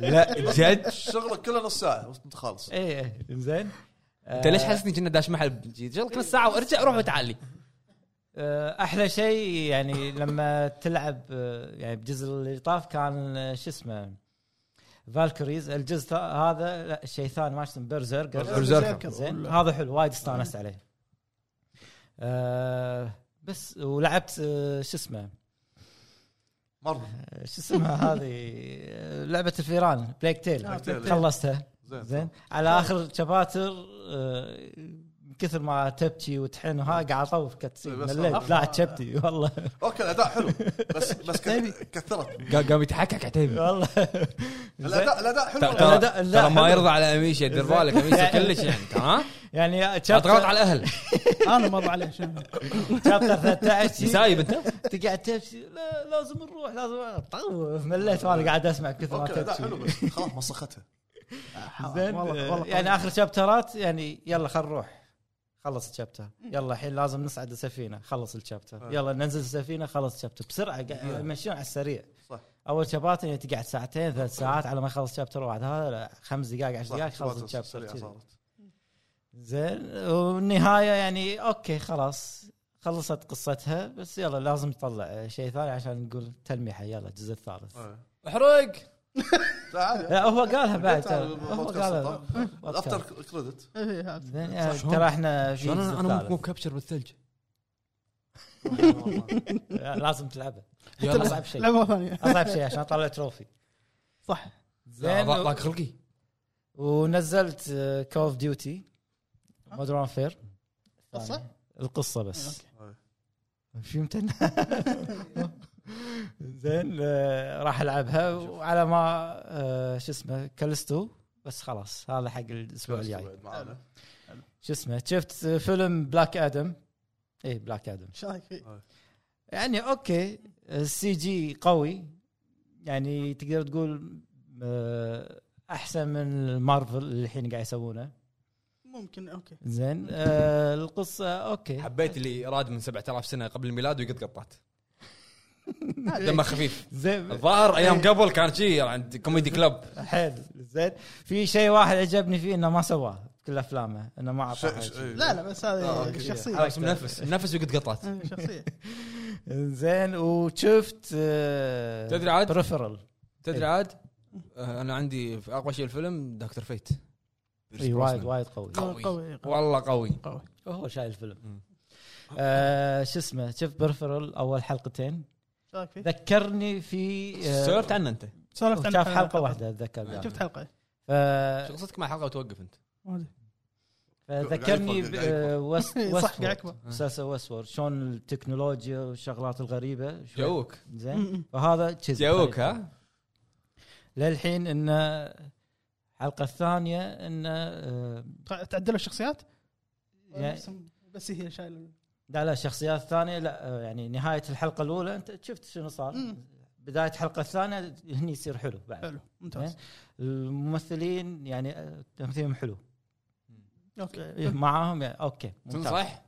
لا جد
شغلك كله نص ساعه وانت خالص
اي اي زين
انت ليش حاسسني كنا داش محل يلا كل ساعه وارجع روح وتعالي
آه، احلى شيء يعني لما تلعب آه، يعني بجزء اللي طاف كان آه، شو اسمه فالكريز الجزء ثا- هذا لا شيء ثاني ما اسمه برزرجر
برزيركر.
زين هذا حلو وايد استانست عليه آه، بس ولعبت آه، شو اسمه
مره
آه، شو اسمها هذه آه، لعبه الفيران بليك تيل
آه،
بليك تيل.
خلصتها
زين
زين على اخر شباتر آه، من كثر ما تبكي وتحن وها قاعد اطوف كتسين
بس
مليت
خلاص.
لا عجبتي والله
اوكي الاداء حلو بس بس كث- كثرت
قام قام يتحكك عتيبي
والله زين.
الاداء الاداء حلو
ترى-
ترى
لا، لا،
ترى ما
حلو.
يرضى على اميشه دير
زين.
بالك اميشه كلش يعني ها
يعني
لا تغلط
شابتر
على الاهل
انا مرضى عليه شنو
شابتر 13
سايب انت
تقعد تبكي لا لازم نروح لازم طوف مليت وانا قاعد اسمع كثر ما
اوكي الاداء حلو
تبكي
بس خلاص مسختها
زين
والله
آه،
والله
طيب.
يعني اخر شابترات يعني يلا خل نروح خلص الشابتر يلا الحين لازم نصعد السفينه خلص الشابتر
آه.
يلا ننزل السفينه خلص الشابتر بسرعه قاعد يمشون على السريع
صح.
اول شابتر يعني تقعد ساعتين ثلاث ساعات على ما يخلص شابتر واحد هذا لا، خمس دقائق عشر دقائق خلص الشابتر
سريعة
كذي.
صارت.
زين والنهايه يعني اوكي خلاص خلصت قصتها بس يلا لازم تطلع شيء ثاني عشان نقول تلميحه يلا الجزء الثالث
إيه.
احرق
لا عادي
لا هو قالها بعد
قلت على
ترى. هو
البودكاست
قالها
الطاف.
بودكاست.
الافتر كريدت
إيه، هذا.
زين يعني
شلون؟
ترى احنا في
شلون انا
جزء
انا
ثالث.
مو- مو مكبشر بالثلج
لا، لازم تلعبه
يلا
اصعب شيء
لعبه ثانيه
اصعب شيء عشان اطلع تروفي
صح
لا،
زين
ضاق ضاق خلقي
ونزلت آه، كول اوف ديوتي مودرن فير
قصة؟
القصه بس شو يمتن زين آه، راح العبها وعلى ما آه، شو اسمه كلستو بس خلاص هذا حق الاسبوع الجاي آه.
معانا
شو اسمه شفت فيلم إيه، بلاك ادم اي بلاك ادم
ايش رايك فيه؟
يعني اوكي السي جي قوي يعني تقدر تقول آه، احسن من مارفل اللي الحين قاعد يسوونه
ممكن اوكي
زين آه القصه اوكي
حبيت اللي راد من 7000 سنه قبل الميلاد ويقط قطات
إيه.
دمه خفيف
زين
الظاهر ايام قبل كان شي عند كوميدي كلوب
إيه، حلو زين في شيء واحد عجبني فيه انه ما سواه بكل افلامه انه ما اعطاه
لا لا بس
آه،
هذه
أوكي.
شخصيه
خلاص منفس منفس ويقط قطات
إيه، شخصيه
زين وشفت آه
تدري عاد؟
بريفرال
تدري عاد إيه. آه، انا عندي في اقوى شيء الفيلم دكتور فيت إيه،
اي وايد وايد قوي
قوي.
قوي قوي
والله قوي
قوي
هو شايل الفيلم
مم.
آه شو اسمه شفت بريفرال اول حلقتين
ايش رايك فيه؟
ذكرني في آه،
سولفت عنه انت
سولفت عنه
شاف حلقه واحده اتذكر
آه، شفت حلقه
ف-
شو قصتك مع الحلقه وتوقف انت
ما أدري.
فذكرني
قاعد يكبر،
بوست
صح قاعد يكبر
مسلسل ويستورد شلون التكنولوجيا والشغلات الغريبه شوي.
جوك
زين فهذا كذي
جوك ها
للحين انه الحلقه الثانيه انه آه،
تعدلوا الشخصيات؟
يعني
بس هي شايله
لا لا الشخصيات الثانيه لا آه، يعني نهايه الحلقه الاولى انت شفت شنو صار
مم.
بدايه الحلقه الثانيه هني يصير حلو بعد
حلو ممتاز
الممثلين يعني آه، تمثيلهم حلو
اوكي
إيه، معاهم يعني اوكي ممتاز.
تنصح؟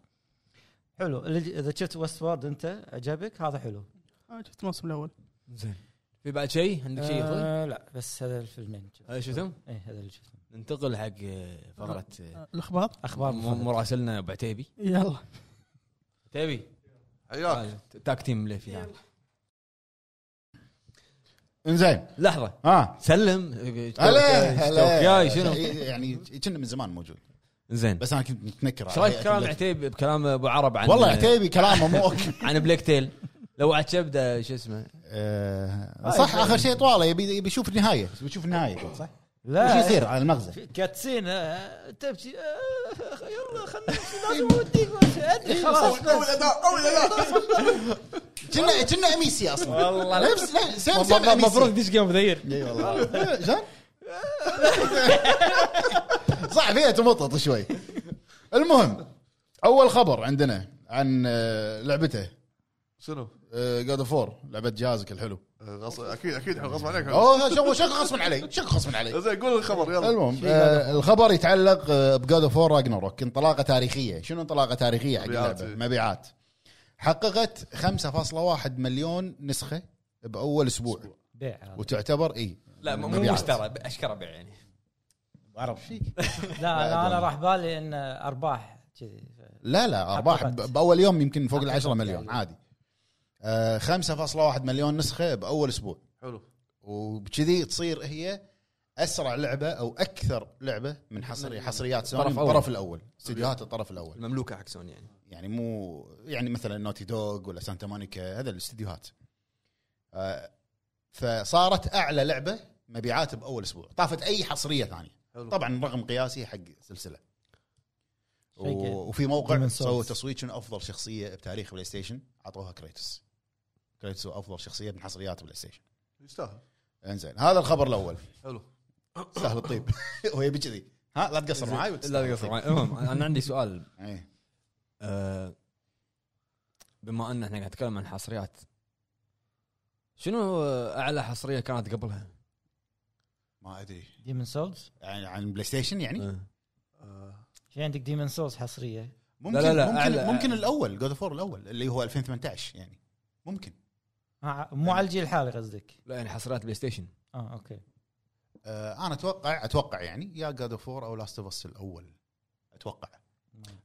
حلو اللي- اذا شفت ويست وورد انت عجبك هذا حلو
انا شفت الموسم الاول
زين في بعد شيء عندك شيء يطول؟
آه لا بس هذا الفيلمين
هذا شفتهم؟
اي هذا اللي شفته
ننتقل حق آه، فقره آه،
آه، الاخبار
اخبار
م-
مفضلة.
مراسلنا ابو عتيبي
يلا
عتيبي
آه.
حياك
آه، تاك تيم ليه فيها
انزين
لحظه
ها
سلم آه،
هلا
ياي
هلا
شنو
يعني كنا من زمان موجود
زين
بس انا كنت متنكر
ايش
عليه.
رايك كلام عتيبي بكلام ابو عرب عن
والله عتيبي كلامه مو اوكي
عن بليك تيل لو عاد شبده شو اسمه
آه، صح اخر شيء طواله يبي يبي يشوف النهايه بس بيشوف النهايه صح؟
لا
ايش يصير على المغزى؟
في كاتسين آه، تبكي آه، يلا خلنا نمشي، لازم اوديك ما شي،
إيه،
ادري خلاص
قوي الاداء قوي الاداء
كنا كنا اميسي اصلا والله نفس لا، سيم سيم أميسي.
المفروض ديش جيم ذير
اي والله زين صح فيها تمطط شوي المهم اول خبر عندنا عن آه، لعبته آه،
شنو؟
جاد اوف لعبه جهازك الحلو
آه، غص- اكيد اكيد غصب عليك
اوه شغل شغل غصبا علي شغل غصبا علي
زين قول الخبر يلا
المهم آه الخبر يتعلق آه، بجاد اوف وور راجناروك انطلاقه تاريخيه شنو انطلاقه تاريخيه حق
مبيعات.
اللعبه مبيعات حققت 5.1 مليون نسخه باول اسبوع
بيع هذا.
وتعتبر اي
لا مو
مبيعات.
مشترى اشكره بيع يعني
عرف فيك
لا
لا،
انا انا
دولار.
راح بالي ان ارباح كذي
لا لا ارباح
حققت.
ب- باول يوم يمكن فوق ال 10
حققت
مليون
يعني.
عادي آه، 5.1 مليون نسخه باول اسبوع
حلو
وبكذي تصير هي اسرع لعبه او اكثر لعبه من حصري حصريات سوني
طرف
من
أول.
الطرف الاول استديوهات الطرف الاول
المملوكه حق سوني يعني
يعني مو يعني مثلا نوتي دوغ ولا سانتا مونيكا هذا الاستديوهات آه، فصارت اعلى لعبه مبيعات باول اسبوع طافت اي حصريه ثانيه
حلو
طبعا رقم قياسي حق سلسله و...
شيء جيد.
وفي موقع
Demon's Souls.
سووا تصويت شنو افضل شخصيه بتاريخ بلاي ستيشن اعطوها كريتوس كريتوس هو افضل شخصيه من حصريات بلاي ستيشن
يستاهل
انزين هذا الخبر الاول
حلو
سهل الطيب هو يبي كذي ها لا تقصر معاي إيه.
لا تقصر معي. المهم انا عندي سؤال
معاي
آه، بما ان احنا قاعد نتكلم عن حصريات شنو آه، اعلى حصريه كانت قبلها؟
ما ادري
ديمن سولز
يعني عن بلاي ستيشن يعني
آه.
آه،
في عندك ديمن سولز حصريه
ممكن
لا لا،
ممكن,
أعلى-
ممكن الاول جود اوف الاول اللي هو 2018 يعني ممكن
مع- آه، مو على الجيل الحالي قصدك
لا يعني حصريات بلاي ستيشن
اه اوكي
آه انا اتوقع اتوقع يعني يا جاد اوف او لاست اوف اس الاول اتوقع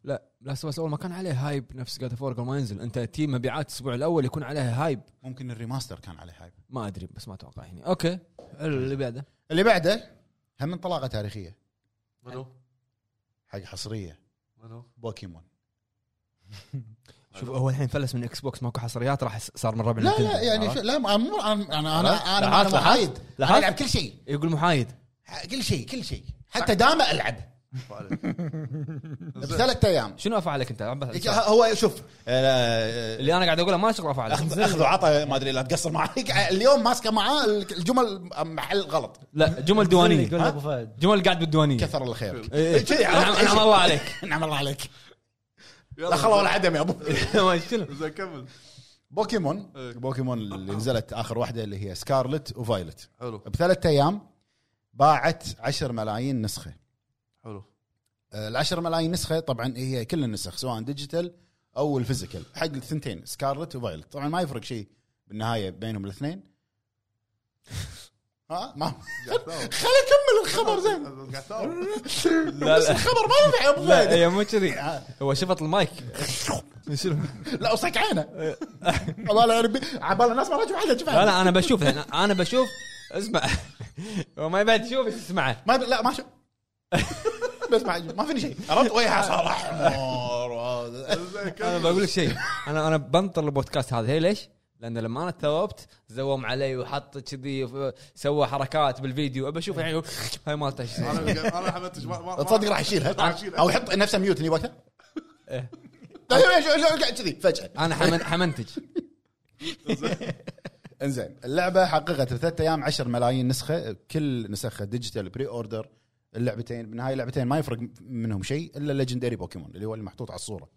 لا لاست اوف اول ما كان عليه هايب نفس جاد فور قبل ما ينزل انت تي مبيعات الاسبوع الاول يكون عليها هايب
ممكن الريماستر كان عليه هايب
ما ادري بس ما يعني. اتوقع هنا اوكي اللي بعده
اللي بعده هم انطلاقه تاريخيه
منو؟
حق حصريه
منو؟
بوكيمون
شوف هو الحين فلس من اكس بوكس ماكو حصريات راح صار من ربع
لا
نتندو.
لا يعني شو لا ما- مو- انا انا انا انا
لاحظت-
انا محايد
لاحظت؟
انا العب كل شيء
يقول محايد
ح- كل شيء كل شيء حتى دامه العب
عليك. زين.
بثلاث ايام
شنو افعلك انت
إيش- هو شوف آه، آه،
اللي انا قاعد اقوله ما له شغل افعلك
اخذ اخذ وعطى ما ادري لا تقصر معاك اليوم ماسكه معاه الجمل محل غلط
إيه.
لا جمل
يقول
ديوانيه
لك ابو فهد
جمل قاعد بالديوانيه
كثر الله خيرك
إيه.
كذي
نعم
عرفت أي
نعم
شيء.
الله عليك
نعم الله عليك
يلا.
لا خلوا ولا عدم يا ابو
ما شنو
زين كمل
بوكيمون
إيه.
بوكيمون اللي نزلت اخر واحده اللي هي سكارلت وفايلت
حلو
بثلاث ايام باعت 10 ملايين نسخه
حلو
ال 10 ملايين نسخه طبعا هي كل النسخ سواء ديجيتال او الفيزيكال حق الثنتين سكارلت وفايلت طبعا ما يفرق شيء بالنهايه بينهم الاثنين ها ما خليني اكمل الخبر زين
قاعد تاوب.
لا
بس
لا
الخبر ما ينفع يا ابو
لا
فهد
هي مو كذي هو شفط المايك شنو
لا وصك عينه عباله عربي عباله الناس ما راجعوا على
لا لا انا بشوف الحين. انا بشوف اسمع هو ما يبعد تشوف بس اسمعه
ما لا ما شو بس ما ما فيني شيء عرفت ويها صار احمر وهذا.
زين
انا
كمل
بقول لك شيء انا انا بنطر البودكاست هذا هي ليش؟ لان لما انا ثوبت زوم علي وحط كذي سوى حركات بالفيديو ابى اشوف يعني هاي مالته إيش اسمه.
انا انا حمدتش ما- ما- ما-
تصدق راح
راح
يشيلها
أشيلها.
او يحط نفسه ميوت هني وقتها طيب،
إيه.
لا، لا، لا، لا، قاعد كذي فجاه
انا حمن حمنتج
انزين اللعبه حققت بثلاث ايام 10 ملايين نسخه كل نسخها ديجيتال بري اوردر اللعبتين من هاي اللعبتين ما يفرق منهم شيء الا ليجندري بوكيمون اللي هو اللي محطوط على الصوره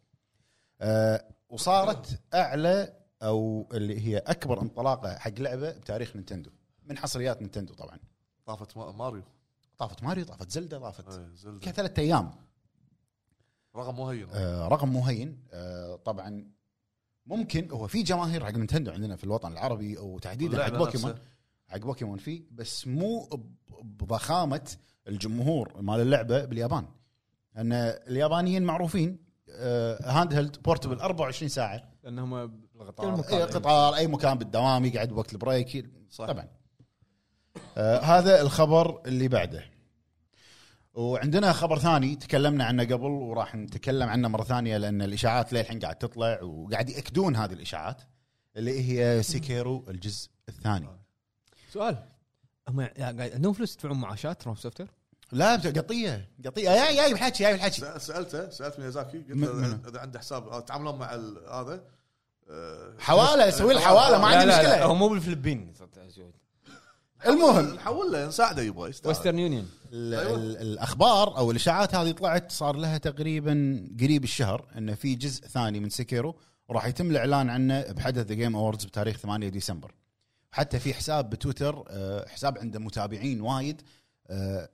أه وصارت اعلى او اللي هي اكبر انطلاقه حق لعبه بتاريخ نينتندو من حصريات نينتندو طبعا
طافت ما- ماريو
طافت ماريو طافت زلدا طافت
إيه، زلدة.
كثلاث ايام
رقم مو هين
آه، رقم مهين آه، طبعا ممكن هو في جماهير حق نينتندو عندنا في الوطن العربي وتحديدا حق
واللعبة
بوكيمون
نفسها.
حق بوكيمون فيه بس مو ب- بضخامه الجمهور مال اللعبه باليابان ان اليابانيين معروفين آه، هاند هيلد بورتبل 24 ساعه
لانهم
اي
بالقطار
قطار اي مكان بالدوام يقعد وقت البريك
صح.
طبعا آه هذا الخبر اللي بعده وعندنا خبر ثاني تكلمنا عنه قبل وراح نتكلم عنه مره ثانيه لان الاشاعات للحين قاعد تطلع وقاعد ياكدون هذه الاشاعات اللي هي سيكيرو الجزء الثاني
آه. سؤال هم يعني قاعد عندهم فلوس يدفعون معاشات روم سوفت وير؟
لا قطيه قطيه جاي جاي بحكي جاي بحكي
سأل- سالته سالت ميازاكي قلت
من-
له
منو؟
اذا عنده حساب آه، تعاملون مع ال- هذا آه،
حواله سوي له حواله ما
لا،
عندي
لا، لا،
مشكله
هم مو بالفلبين
المهم
نحول له نساعده يبغى يستاهل.
ويسترن يونيون
ال-
أيوة.
ال- الاخبار او الاشاعات هذه طلعت صار لها تقريبا قريب الشهر انه في جزء ثاني من سكيرو وراح يتم الاعلان عنه بحدث ذا جيم اووردز بتاريخ 8 ديسمبر حتى في حساب بتويتر آه، حساب عنده متابعين وايد آه،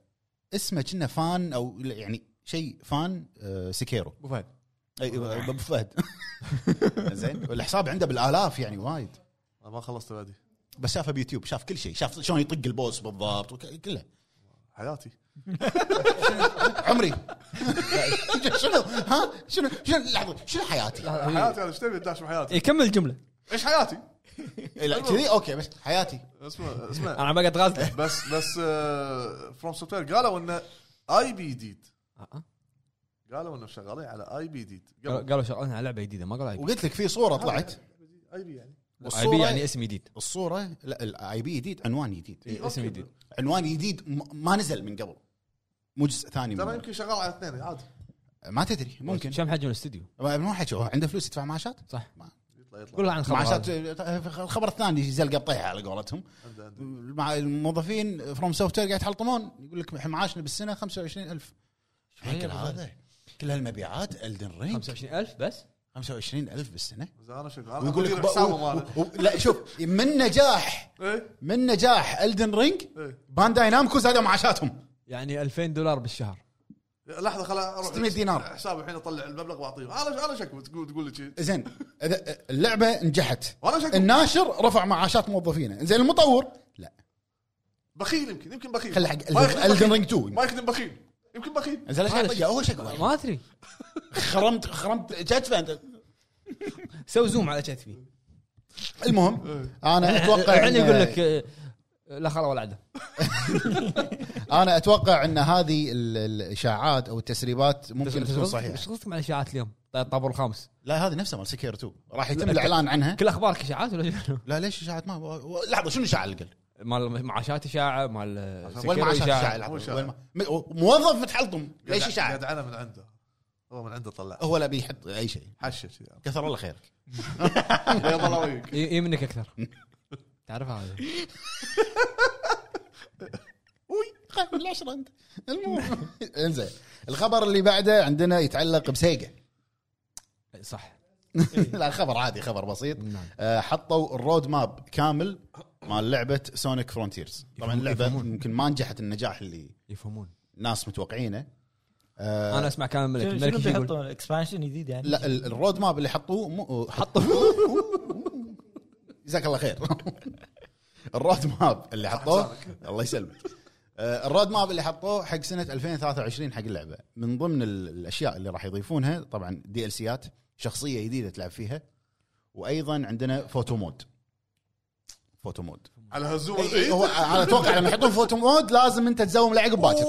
اسمه كنا فان او لا، يعني شيء فان آه، سكيرو
ابو فهد
ايوه ابو فهد زين والحساب عنده بالالاف يعني وايد
آه، ما خلصت بعدي
بس شافه بيوتيوب شاف كل شيء شاف شلون يطق البوس بالضبط وك- كله
حياتي
عمري شنو ها شنو شنو لحظه شنو حياتي؟
حياتي انا ايش تبي تداش بحياتي؟
يكمل الجمله
إيه.
ايش حياتي؟
لا كذي اوكي بس حياتي
اسمع اسمع
انا بقعد غازل
بس بس فروم سوفت وير قالوا انه اي بي ديد قالوا انه شغالين على اي بي ديد قبل
قالوا شغالين على لعبه جديده ما قالوا اي بي
وقلت لك في صوره طلعت
اي بي يعني
اي بي يعني اسم جديد إيه،
الصوره لا الاي بي جديد عنوان جديد
اسم جديد
عنوان جديد م- ما نزل من قبل مو جزء ثاني
ترى
منه.
يمكن شغال على اثنين عادي
ما تدري ممكن
كم حجم الاستوديو
ما حد شو عنده فلوس يدفع معاشات
صح
يطلع
قول
يطلع
له عن الخبر
معاشات آه،
هذا.
الخبر الثاني زلقه بطيحه على قولتهم
عنده- عنده.
مع الموظفين فروم سوفت وير قاعد يتحلطمون يقول لك إحنا معاشنا بالسنه 25000 شو
شوية
كل
هذا.
هذا كل هالمبيعات الدن رينج
25000 بس
25000 بالسنه
زين انا شغال
ويقول
ويقول
لك
آه، لك
بق-
حسابه
و-
ماله
و- لا شوف من نجاح
ايه
من نجاح الدن رينج
ايه
بانداي نامكو زادوا معاشاتهم
يعني 2000 دولار بالشهر
لحظه خل اروح
600 دينار.
حسابي الحين اطلع المبلغ واعطيه انا انا شكو تقول تقول لي شيء
زين إذا- اللعبه نجحت
وانا شكو
الناشر رفع معاشات موظفينه زين المطور لا
بخيل يمكن يمكن بخيل
خلي حق
ما يخدم
الدن
بخيل.
رينج 2
ما يخدم بخيل يمكن بخيل
زين ليش
ما-
هالأشياء؟ هو شكو
ما ادري
خرمت خرمت جاجمنت
سوي زوم على كتفي
المهم انا اتوقع
الحين يقول
إن-
لك آه، لا خلا ولا عدل
انا اتوقع ان هذه ال- الاشاعات او التسريبات ممكن تكون صحيحه
ايش قصدك مع الاشاعات اليوم؟ الطابور الخامس
لا هذه نفسها مال سكير 2 راح يتم
لا،
الاعلان عنها
كل اخبارك اشاعات ولا شنو؟
لا ليش اشاعات ما و- لحظه شنو اشاعه اللي قل؟
مال معاشات اشاعه مال آه،
وين
سكيرو
ما اشاعه اشاعه
مو
لحظه
إشاعة.
وين ما م- موظف متحلطم ليش
قاعد-
اشاعه؟
قاعد عنه من عنده هو من عنده طلع
هو لا بيحط اي شيء
حشه كذي
كثر الله خيرك
يلا الله وياك
ي- يمنك اكثر تعرف هذا
وي خايف من العشره انت المهم انزين الخبر اللي بعده عندنا يتعلق بسيجا
صح
لا خبر عادي خبر بسيط
نعم.
آه، حطوا الرود ماب كامل مال لعبه سونيك فرونتيرز طبعا
يفهمون-
اللعبه
يفهمون.
يمكن ما نجحت النجاح اللي
يفهمون
ناس متوقعينه آه،
انا اسمع كلام الملك
شنو شنو
الملك يقول
بيحطون اكسبانشن جديد يعني
لا ال- الرود ماب اللي حطوه مو حطوا جزاك الله خير الرود ماب اللي حطوه الله يسلمك آه، الرود ماب اللي حطوه حق سنه 2023 حق اللعبه من ضمن ال- الاشياء اللي راح يضيفونها طبعا دي ال سيات شخصيه جديده تلعب فيها وايضا عندنا فوتو مود فوتو مود
على هالزوم
إي- إي،
البعيد
إيه، هو انا اتوقع لما يحطون فوتو مود لازم انت تزوم العقب باكر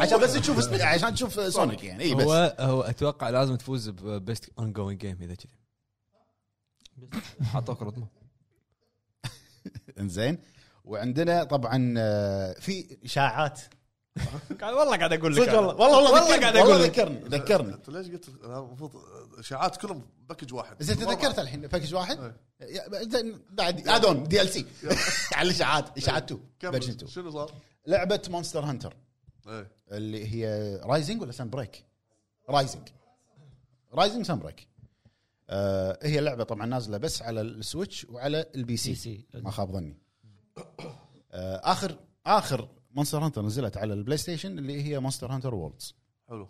عشان بس تشوف اسم- عشان تشوف سونيك يعني اي بس
هو هو اتوقع لازم تفوز ببيست اون جوينج جيم اذا كذي حطوك رتمه
انزين وعندنا طبعا آه، في اشاعات
والله قاعد اقول
صدق والله والله والله
والله
قاعد
قاعد
اقول
أقول لك.
ذكرني ذكرني
انت ليش قلت أنا المفروض اشاعات كلهم باكج واحد
زين
مرة.
تذكرت الحين باكج واحد
إيه.
يا- بعدين- بعد ادون دي ال سي على الاشاعات اشاعات 2
كمل.
فيرجن 2
شنو صار؟
لعبه مونستر هانتر
ايه
اللي هي رايزنج ولا سان بريك؟ رايزنج رايزنج سان بريك آه هي لعبه طبعا نازله بس على السويتش وعلى البي سي,
بي سي.
ما خاب ظني آه اخر اخر مونستر هانتر نزلت على البلاي ستيشن اللي هي مونستر هانتر وورلدز
حلو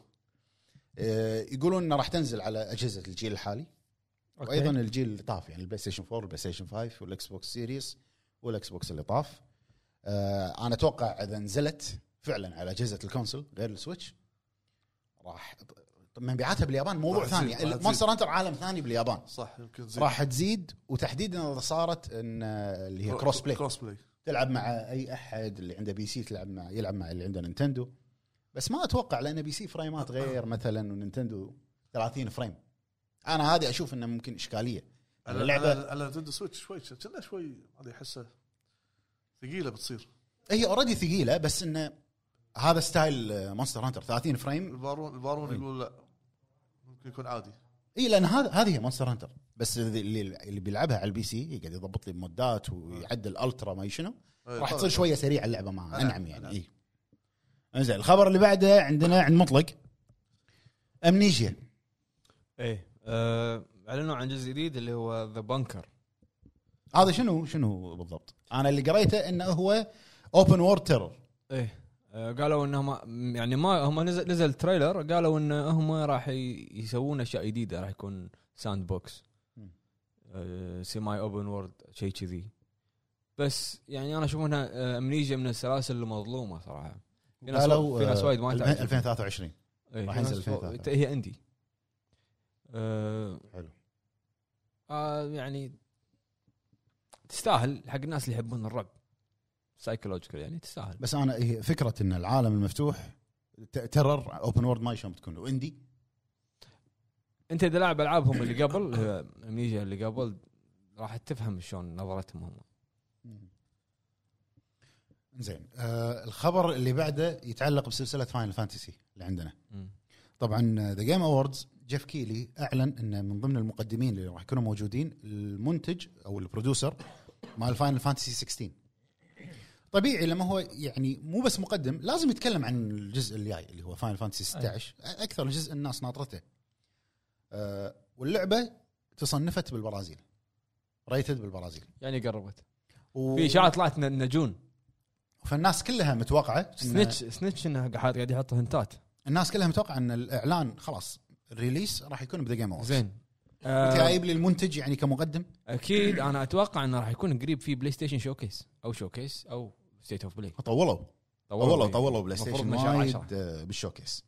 آه، يقولون انها راح تنزل على اجهزه الجيل الحالي
أوكي.
وايضا الجيل اللي طاف يعني البلاي ستيشن 4 والبلاي ستيشن 5 والاكس بوكس سيريس والاكس بوكس اللي طاف آه، انا اتوقع اذا نزلت فعلا على اجهزه الكونسل غير السويتش راح طب مبيعاتها باليابان موضوع
راح تزيد،
ثاني
راح تزيد.
مونستر هانتر عالم ثاني باليابان
صح يمكن زين
راح تزيد وتحديدا اذا صارت ان آه، اللي هي كروس بلاي
كروس بلاي
تلعب مع اي احد اللي عنده بي سي تلعب مع يلعب مع اللي عنده نينتندو بس ما اتوقع لان بي سي فريمات غير مثلا ونينتندو 30 فريم انا هذه اشوف انه ممكن اشكاليه
على
اللعبة-
اللعبه على نتندو سويتش شوي كنا شوي ما أدري احسه ثقيله بتصير
هي اوريدي ثقيله بس انه هذا ستايل مونستر هانتر 30 فريم
البارون البارون يقول لا ممكن يكون عادي
اي لان هذا هذه هي مونستر هانتر بس اللي اللي بيلعبها على البي سي يقعد يضبط لي مودات ويعدل الترا ما شنو
إيه،
راح
طبعاً.
تصير شويه سريعه اللعبه معها
أنا-
انعم يعني
أنا-
اي انزين الخبر اللي بعده عندنا عند مطلق امنيجيا
ايه آه، اعلنوا عن جزء جديد اللي هو ذا بانكر
هذا شنو شنو بالضبط؟ انا اللي قريته انه هو اوبن وورد تيرور
ايه آه، قالوا انهم يعني ما هم نزل نزل تريلر قالوا ان هم راح ي- يسوون اشياء جديده راح يكون ساند بوكس
مم.
آه، سيماي اوبن وورد شيء كذي بس يعني انا اشوف انها آه، امنيجيا من السلاسل المظلومه صراحه في ناس
قالوا آه،
في ناس وايد ما تعرف.
2023
إيه،
راح
في
ينزل
ناس-
2003.
هي عندي آه،
حلو
آه يعني تستاهل حق الناس اللي يحبون الرعب سايكولوجيكال يعني تستاهل
بس انا هي فكره ان العالم المفتوح ت- تيرور اوبن وورد ما شلون بتكون واندي
انت اذا لاعب العابهم اللي قبل اللي هو امنيجا اللي قبل راح تفهم شلون نظرتهم هم
زين آه الخبر اللي بعده يتعلق بسلسله فاينل فانتسي اللي عندنا
مم.
طبعا ذا جيم اووردز جيف كيلي اعلن انه من ضمن المقدمين اللي راح يكونوا موجودين المنتج او البروديوسر مال فاينل فانتسي 16 طبيعي لما هو يعني مو بس مقدم لازم يتكلم عن الجزء الجاي اللي هو فاينل فانتسي 16 اكثر جزء الناس ناطرته أه واللعبه تصنفت بالبرازيل ريتد بالبرازيل
يعني قربت
و...
في اشاعه طلعت ان إن جون
فالناس كلها متوقعه إن-
سنتش سنتش انه قاعد قاعد يحط هنتات
الناس كلها متوقعه ان الاعلان خلاص الريليس راح يكون بذا جيم اووردز
زين
انت
آه
جايب لي المنتج يعني كمقدم
اكيد انا اتوقع انه راح يكون قريب في بلاي ستيشن شوكيس او شوكيس او ستيت اوف بلاي
طولوا طولوا طيب. طولوا بلاي ستيشن
المفروض إنه شهر
وايد
10.
آه، بالشوكيس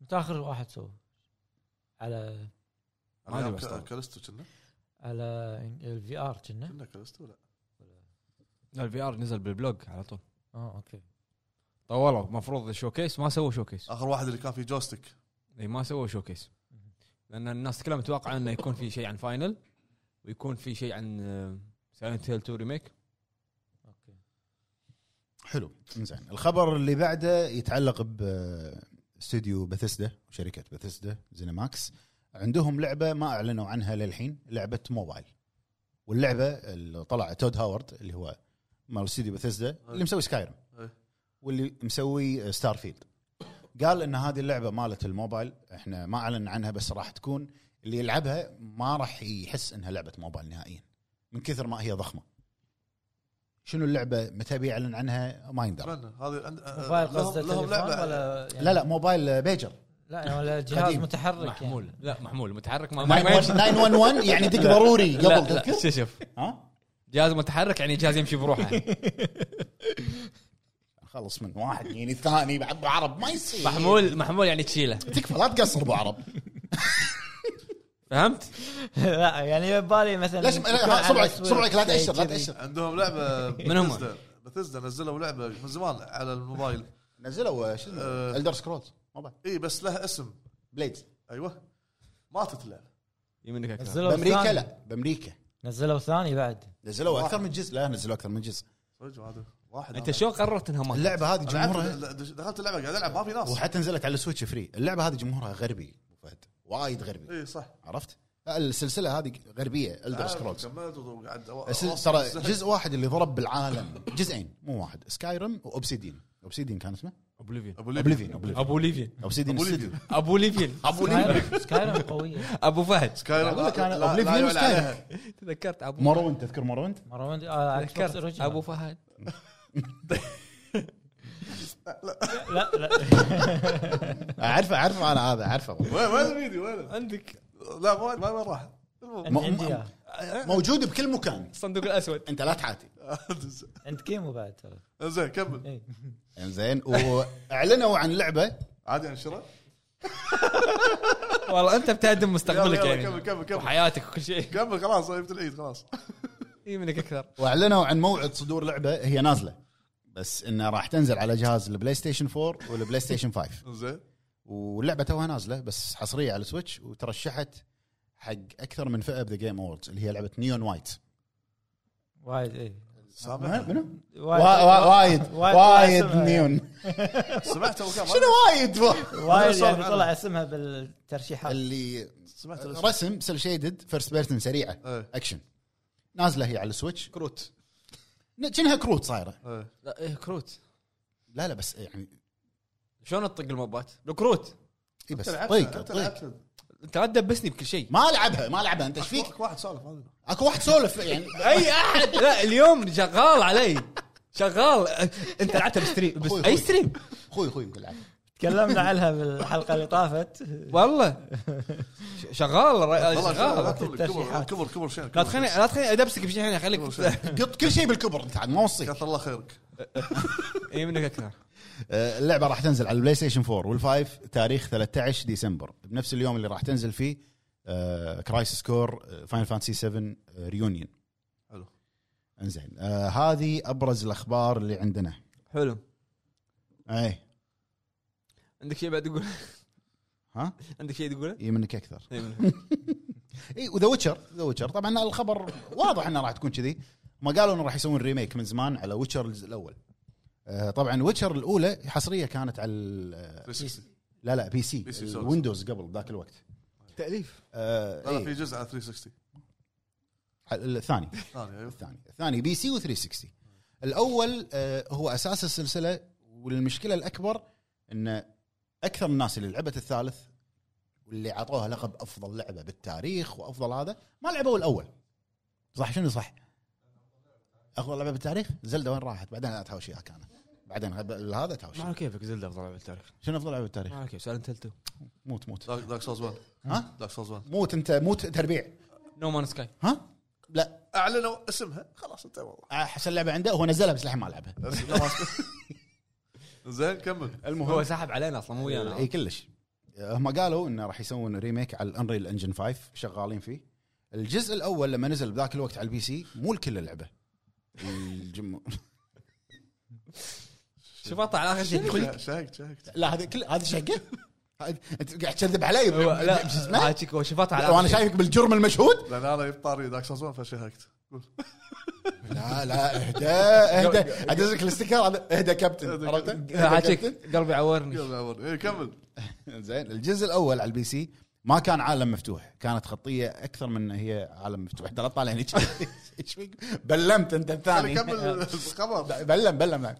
متاخر واحد سوى على
ما أدري بس
ك-
طبعاً.
كالستو كنا
على الفي ار كنا
كنا كالستو لا
الفي ار نزل بالبلوج على طول طيب،
اه اوكي
طولوا المفروض الشوكيس ما سووا شوكيس
اخر واحد اللي كان فيه جوستيك
اي ما سووا شوكيس لان الناس كلها متوقعه انه يكون في شيء عن فاينل ويكون في شيء عن آه، سايلنت هيل 2 ريميك
حلو زين الخبر اللي بعده يتعلق باستوديو بثسدا شركه بثسدا زينماكس عندهم لعبه ما اعلنوا عنها للحين لعبه موبايل واللعبه اللي طلع تود هاورد اللي هو مال استوديو بثسدا اللي مسوي سكايرم
أي.
واللي مسوي ستار فيلد قال ان هذه اللعبه مالت الموبايل احنا ما اعلن عنها بس راح تكون اللي يلعبها ما راح يحس انها لعبه موبايل نهائيا من كثر ما هي ضخمه شنو اللعبه متى بيعلن عنها ما يندر
اتمنى هذه عند- آه،
موبايل
لهم-
قصده
لهم
تليفون
لعبه
ولا يعني
لا لا موبايل بيجر
لا يعني ولا جهاز
قديم.
متحرك
محمول
يعني.
لا محمول متحرك ما ما- ما
911 يعني دق ضروري
لا
قبل
لا
تذكر
شوف شوف
ها
جهاز متحرك يعني جهاز يمشي بروحه
خلص من واحد يعني ثاني بعد ابو عرب ما يصير
محمول محمول يعني تشيله
تكفى لا تقصر ابو عرب
فهمت؟
لا يعني بالي مثلا
ليش
يكون
لا،
على
صبعك
الأسود
صبعك لا
شيء
تاشر لا
كذي.
تاشر
عندهم لعبه
من هم؟
بثزدا بثزدا نزلوا لعبه من زمان على الموبايل
نزلوا شو اسمه
آه.
الدر سكرولز موبايل
اي بس لها اسم
بليدز
ايوه ماتت اللعبه
يمنك اكثر
نزلوا
بامريكا
ثاني.
لا بامريكا
نزلوا ثاني بعد
نزلوا اكثر من جزء لا نزلوا اكثر من جزء
صدق هذا واحد
انت
أنا-
شلون قررت انها ما
اللعبه هذه
أنا لعبت-
جمهورها
لا، دخلت اللعبه قاعد العب ما في ناس
وحتى نزلت على سويتش فري اللعبه هذه جمهورها غربي أبو فهد وايد غربي
اي إيه، صح
عرفت السلسله هذه غربيه الدر سكرولز
كملت وقعد أو-
بس
أوصل
ترى
السهل.
جزء واحد اللي ضرب بالعالم جزئين مو واحد سكايرم واوبسيدين اوبسيدين كان اسمه
اوبليفيون
ابو ليبي
اوبليفين اوبليفين
ابو ليفيون
اوبسيدين
أبو
استوديو
ابو ليفيون
ابو ليبي
سكايرم قويه
ابو فهد
سكاي
أقول لك أنا Oblivion وسكاي.
تذكرت ابو
مروند تذكر مروند
مروان آه، Xbox
تذكرت
Original.
ابو فهد
لا لا
اعرفه اعرفه انا هذا اعرفه والله.
وين وين الفيديو وين
عندك
لا ما ما ما راح المهم.
م-
عندي
م-
إياه.
موجود بكل مكان
الصندوق الاسود
انت لا تحاتي
عند كيمو بعد إيه. ترى
زين كمل
إي.
زين واعلنوا عن لعبه
عادي يعني انشره
والله انت بتهدم
يلا
مستقبلك
يلا كمل
يعني
كمل كمل
وحياتك وكل شيء
كمل خلاص جبت العيد خلاص
اي إيه، منك اكثر
واعلنوا عن موعد صدور لعبه هي نازله بس انها راح تنزل على جهاز البلاي ستيشن 4 والبلاي ستيشن 5
زين
واللعبه توها نازله بس حصريه على السويتش وترشحت حق اكثر من فئه بذا جيم اووردز اللي هي لعبه نيون وايت
وايد إيه. اي
سامع
وا- وا- وايد
وايد-
وايد
اسمها.
نيون
سمعت ابو كم
شنو وايد
وايد يعني
صار
طلع اسمها بالترشيحات
اللي
سمعت الاسم.
رسم سيل شيدد فيرست بيرسون سريعه
إيه.
اكشن نازله هي على السويتش
كروت
كأنها كروت صايره
إيه.
لا ايه كروت
لا لا بس يعني
شلون تطق الموبات؟ الكروت
اي بس
أنت لعبت-
طيق
أنت
طيق.
لعبت.
انت لا تدبسني بكل شيء
ما العبها ما العبها انت ايش فيك؟
اكو واحد سولف ما أدري.
اكو واحد سولف يعني
اي احد لا اليوم شغال علي شغال انت لعبتها بستريم بس
أخوي،
اي
أخوي.
ستريم
اخوي اخوي يقول لعب.
تكلمنا عنها بالحلقه اللي طافت
والله ش- شغال را-
والله لا
شغال
تقول لي، كبر كبر كبر شين
طيب، لا
كبر.
تخليني لا تخليني ادبسك بشيء هنا خليك
قط كل شيء بالكبر انت عاد ما وصيك
كثر الله خيرك
اي إيه، منك اكثر
آه، اللعبه راح تنزل على البلاي ستيشن 4 والفايف تاريخ 13 ديسمبر بنفس اليوم اللي راح تنزل فيه آه، كرايسس كور فاينل فانتسي 7 ريونيون
حلو.
آه، انزين آه، هذه ابرز الاخبار اللي عندنا إيه،
حلو
اي
عندك شيء بعد تقول
ها
عندك شيء تقوله؟
اي منك إيه، اكثر
إي منك.
اي وذا ويتشر ذا ويتشر طبعا الخبر واضح انه راح تكون كذي ما قالوا انه راح يسوون ريميك من زمان على ويتشر الجزء الاول آه، طبعا ويتشر الاولى حصريه كانت على ال- آه،
360.
لا لا بي سي
بي سي سوري.
ويندوز قبل ذاك الوقت
تاليف
آه،
لا لا
إي.
طيب. في جزء على 360
الثاني
ثاني ايوه
الثاني الثاني بي سي و360 الاول آه، هو اساس السلسله والمشكله الاكبر ان اكثر الناس اللي لعبت الثالث واللي عطوها لقب افضل لعبه بالتاريخ وافضل هذا ما لعبوا الاول صح شنو صح؟ افضل لعبه بالتاريخ زلده وين راحت؟ بعدين لا تهاوش اياك انا بعدين غب- هذا تهاوش
ما على كيفك زلده افضل لعبه بالتاريخ
شنو افضل لعبه
ما
بالتاريخ؟
على كيف سالنت هلتو
موت موت
دارك دارك سولز 1
ها؟
دارك سولز 1
موت انت موت تربيع
نو مان سكاي
ها؟ لا
اعلنوا اسمها خلاص انت والله
حسن لعبه عنده هو نزلها بس لحين ما لعبها
بس لا ما أسمع. زين كمل
المهم هو ساحب علينا اصلا مو ويانا
اي إيه، كلش هم قالوا انه راح يسوون ريميك على الانريل انجن 5 شغالين فيه الجزء الاول لما نزل بذاك الوقت على البي سي مو الكل لعبه الجم...
شوف اطلع على اخر شيء
شا- شاهقت شاهقت
لا هذا كل هذا شقه هذا- انت قاعد تكذب علي
هو-
ب-
لا
بش اسمه؟
حاجيك هو شوف اطلع على
وانا
آخر شيء.
شايفك بالجرم المشهود
لان انا جبت طاري دارك سولز 1 فشهقت
لا لا اهدى اهدى ادز لك الاستيكر هذا اهدى كابتن عرفت؟ اهدى
حاجيك
كابتن.
قلبي عورني
يلا يا ولد. إيه، كمل
زين الجزء الاول على البي سي ما كان عالم مفتوح كانت خطيه اكثر من هي عالم مفتوح ترى طالع هني إيش فيك؟ بلمت انت الثاني
كمل الخبر
بلم بلم نعم.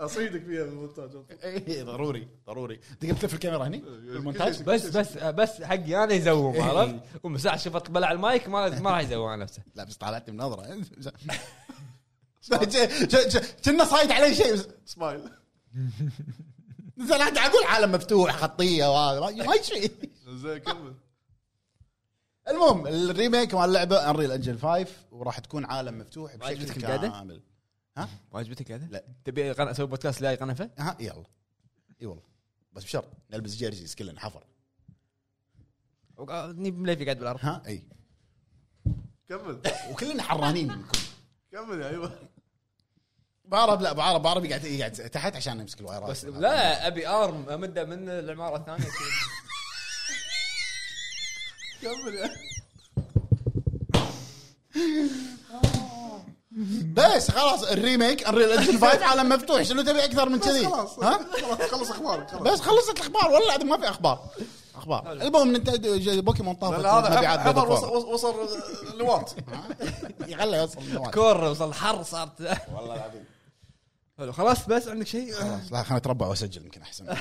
اصيدك فيها بالمونتاج
إيه، ضروري ضروري تقدر تلف الكاميرا هني المونتاج
بس بس بس حقي انا يزوم عرفت ومساح شفت بلع المايك ما ما راح يزوم على نفسه
لا بس طالعتني من نظره كنا صايد علي شيء بس-
سمايل
زين انا قاعد اقول عالم مفتوح خطيه وهذا ما- ما يشفي
زين كمل
المهم الريميك مال اللعبه انريل انجل 5 وراح تكون عالم مفتوح بشكل
عجبتك القعدة؟
كامل
ما عجبتك هذا؟
لا.
تبي قن- اسوي بودكاست لاي قنفه؟
ها يلا اي والله بس بشرط نلبس جيرجيز كلنا حفر
وقا- نجيب مليفي قاعد بالارض
ها اي
كمل
وكلنا حرانين نكون
كمل يا ايوه
بعرب لا بعرب بعرب قاعد إيه، قاعد تحت عشان نمسك الوايرات
بس لا ابي ارم امده من العماره الثانيه
كمل يا
بس خلاص الريميك انريل انجل 5 عالم مفتوح شنو تبي اكثر من كذي؟
خلاص
ها؟
خلاص خلص اخبارك خلاص
بس خلصت الاخبار والله العظيم ما في اخبار اخبار المهم انت بوكيمون
لان
طافت
هذا
مبيعات
خبر
God of War.
وصل- وصل eh, لوارد
يلا يوصل النواة.
كور وصل حر صارت والله العظيم حلو خلاص بس عندك شيء
خلاص لا خليني اتربع واسجل يمكن احسن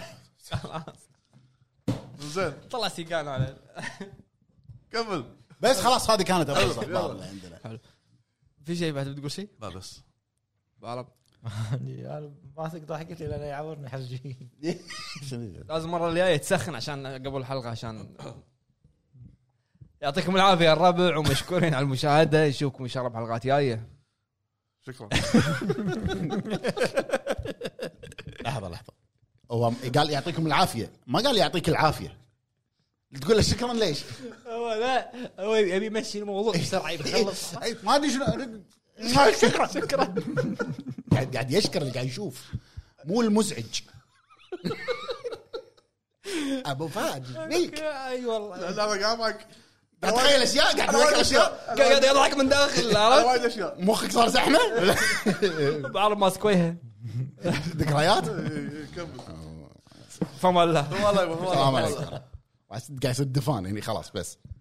خلاص
زين
طلع سيقان على
كمل
بس خلاص هذه كانت
يلا.
ابرز الاخبار اللي عندنا
في شيء بعد بتقول شيء؟
لا بس
بعرب
انا ماسك ضحكتي لان يعورني حرجي
لازم المره الجايه تسخن عشان قبل الحلقه عشان يعطيكم العافيه يا الربع ومشكورين على المشاهده نشوفكم ان شاء الله بحلقات جايه
شكرا
لحظه لحظه هو قال يعطيكم العافيه ما قال يعطيك العافيه تقول له شكرا ليش؟
هو لا هو يبي يمشي الموضوع بسرعه يخلص
أي، ما ادري شنو ما- شكرا شكرا قاعد قاعد يشكر اللي قاعد يشوف مو المزعج ابو فهد ميك
اي والله
لا أنا قاعد معك
قاعد تخيل اشياء قاعد
أنا وايد
تفكر اشياء
أشياء. أنا
قاعد
وايد-
يضحك من داخل
أنا
عرفت؟
وايد اشياء
مخك صار زحمه
بعرف ماسك وجهه
ذكريات
إي، إي، كمل
فما الله
والله والله
السلام
والله.
عليكم قاعد يصير دفان هني خلاص بس